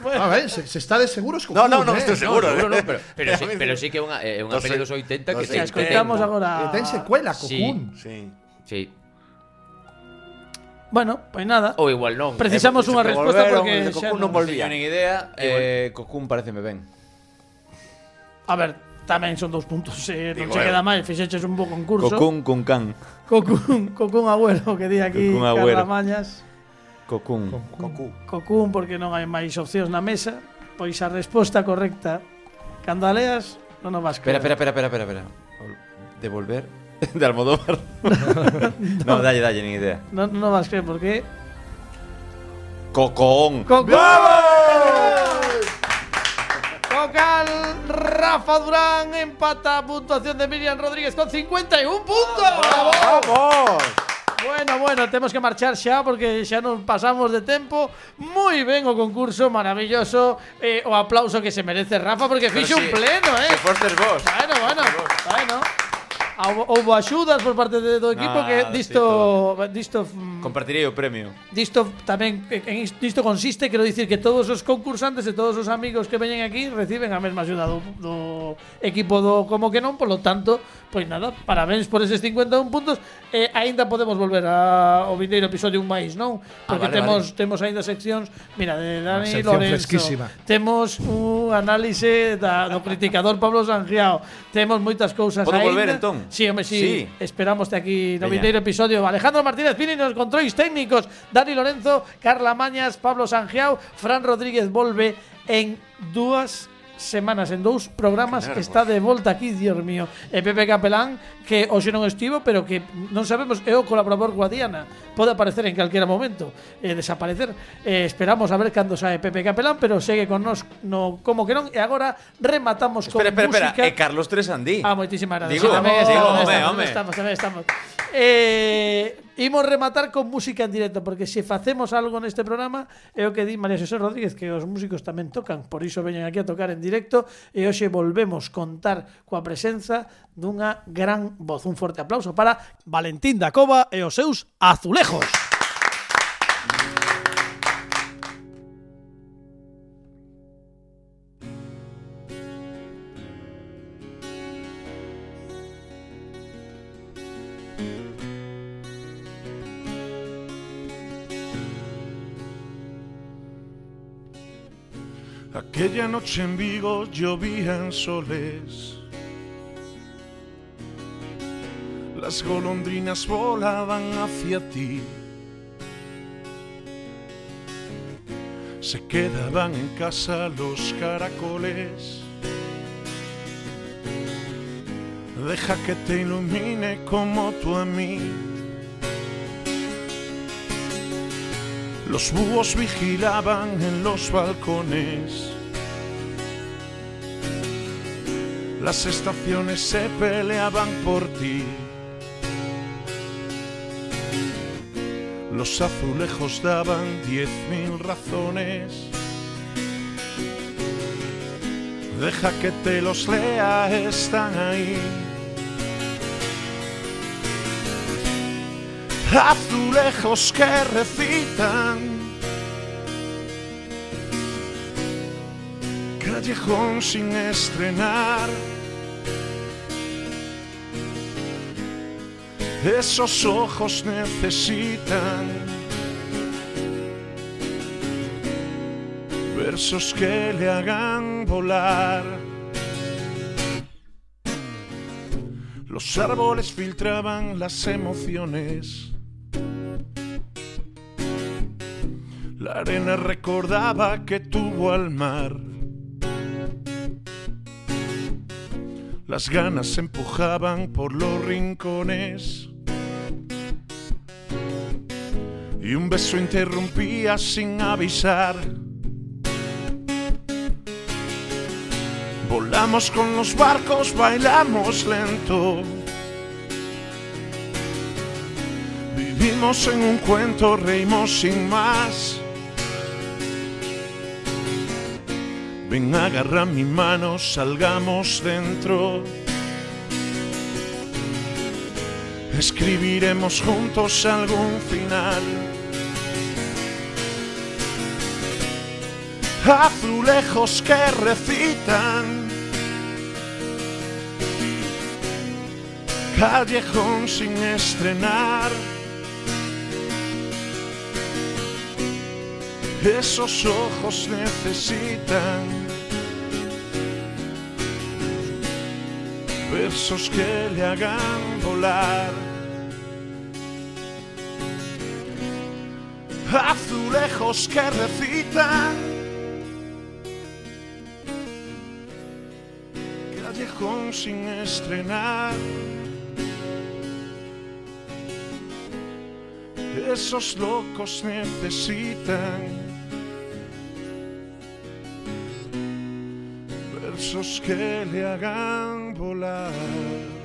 Bueno,
A ver, Ah, se, se está de seguro es
No,
Cocoon,
no, no,
eh.
estoy (laughs) seguro.
No, seguro
eh.
non, pero,
(laughs)
pero, sí, pero sí que eh, é unha, é unha
No sei.
peli dos 80
No sei.
que ten- que ten-
escoitamos
Eh,
agora.
ten secuela,
Sí.
Cocoon.
Ah, Sí.
Sí.
Bueno, pois nada.
Ou igual non.
Precisamos unha
que
resposta
volveron,
porque
que
xa
Cocoon
non-
non
Non teño
volvía.
nin idea. Eh, Cocoon pareceme ben.
A ver, tamén son dous puntos, eh, non
Digo, eh.
se queda máis, fixeches un bo concurso.
Cocoon con can.
Cocún, Cocún agüero que di aquí
Cocún agüero.
Carla Mañas.
Cocoon.
Cocoon.
Cocún porque non hai máis opcións na mesa, pois a resposta correcta cando a leas non o vas
Espera,
creer.
espera, espera, espera, espera, espera. Devolver (laughs) de (laughs) Almodóvar. no, dalle, dalle, nin idea.
Non, non o vas creer porque
Cocoon.
Cocún. Cocal Rafa Durán empata a puntuación de Miriam Rodríguez con 51 puntos.
¡Vamos!
Bueno, bueno, temos que marchar xa porque xa nos pasamos de tempo. Moi ben o concurso, maravilloso. Eh, o aplauso que se merece Rafa porque fixo un
sí,
pleno, eh.
Que fortes vos.
Bueno, bueno, bueno. Houbo, houbo axudas por parte de- do equipo
Nada,
que
Ah, sí,
disto disto mm,
Compartirei o premio.
disto tamén en is- disto consiste, quero dicir que todos os concursantes e todos os amigos que veñen aquí reciben a mesma axuda do, do equipo do como que non, polo tanto, pois nada, parabéns por eses 51 puntos e aínda podemos volver a, ao vindeiro episodio un máis, non? Porque
vale,
temos temos aínda seccións, mira, de Dani
Ah, Unha sección
Lorenzo.
fresquísima.
Temos un análise da, do criticador Pablo Sangiao. Temos moitas cousas
Podo
aínda.
volver, entón?
Sí, home, sí.
Sí.
Esperámoste aquí no
Veña.
vindeiro episodio. Alejandro Martínez Pini nos controis técnicos. Dani Lorenzo, Carla Mañas, Pablo Sangiao, Fran Rodríguez volve en dúas semanas en dous programas está
pues.
de volta aquí, Dios mío. E Pepe Capelán, que hoxe non estivo, pero que non sabemos é o colaborador guadiana. Pode aparecer en calquera momento, e desaparecer. E esperamos a ver cando sae Pepe Capelán, pero segue con nos no como que non. E agora rematamos con
Espera, espera, espera.
música.
E Carlos Tresandí.
Ah, moitísimas gracias. Sí,
Digo,
tamén estamos,
digo, home,
estamos,
home.
estamos, tamén estamos. Eh, imos rematar con música en directo, porque se facemos algo neste programa, é o que di María José Rodríguez, que os músicos tamén tocan, por iso veñen aquí a tocar en directo, e hoxe volvemos contar coa presenza dunha gran voz. Un forte aplauso para Valentín da Cova e os seus azulejos.
Aquella noche en Vigo llovían soles. Las golondrinas volaban hacia ti. Se quedaban en casa los caracoles. Deja que te ilumine como tú a mí. Los búhos vigilaban en los balcones. Las estaciones se peleaban por ti. Los azulejos daban diez mil razones. Deja que te los lea, están ahí. azulejos que recitan. Callejón sin estrenar. Esos ojos necesitan versos que le hagan volar. Los árboles filtraban las emociones. La arena recordaba que tuvo al mar. Las ganas se empujaban por los rincones. Y un beso interrumpía sin avisar. Volamos con los barcos, bailamos lento. Vivimos en un cuento, reímos sin más. Ven, agarra mi mano, salgamos dentro. Escribiremos juntos algún final. Azulejos que recitan. Callejón sin estrenar. Esos ojos necesitan versos que le hagan volar. Azulejos que recitan. Callejón sin estrenar. Esos locos necesitan versos que le hagan volar.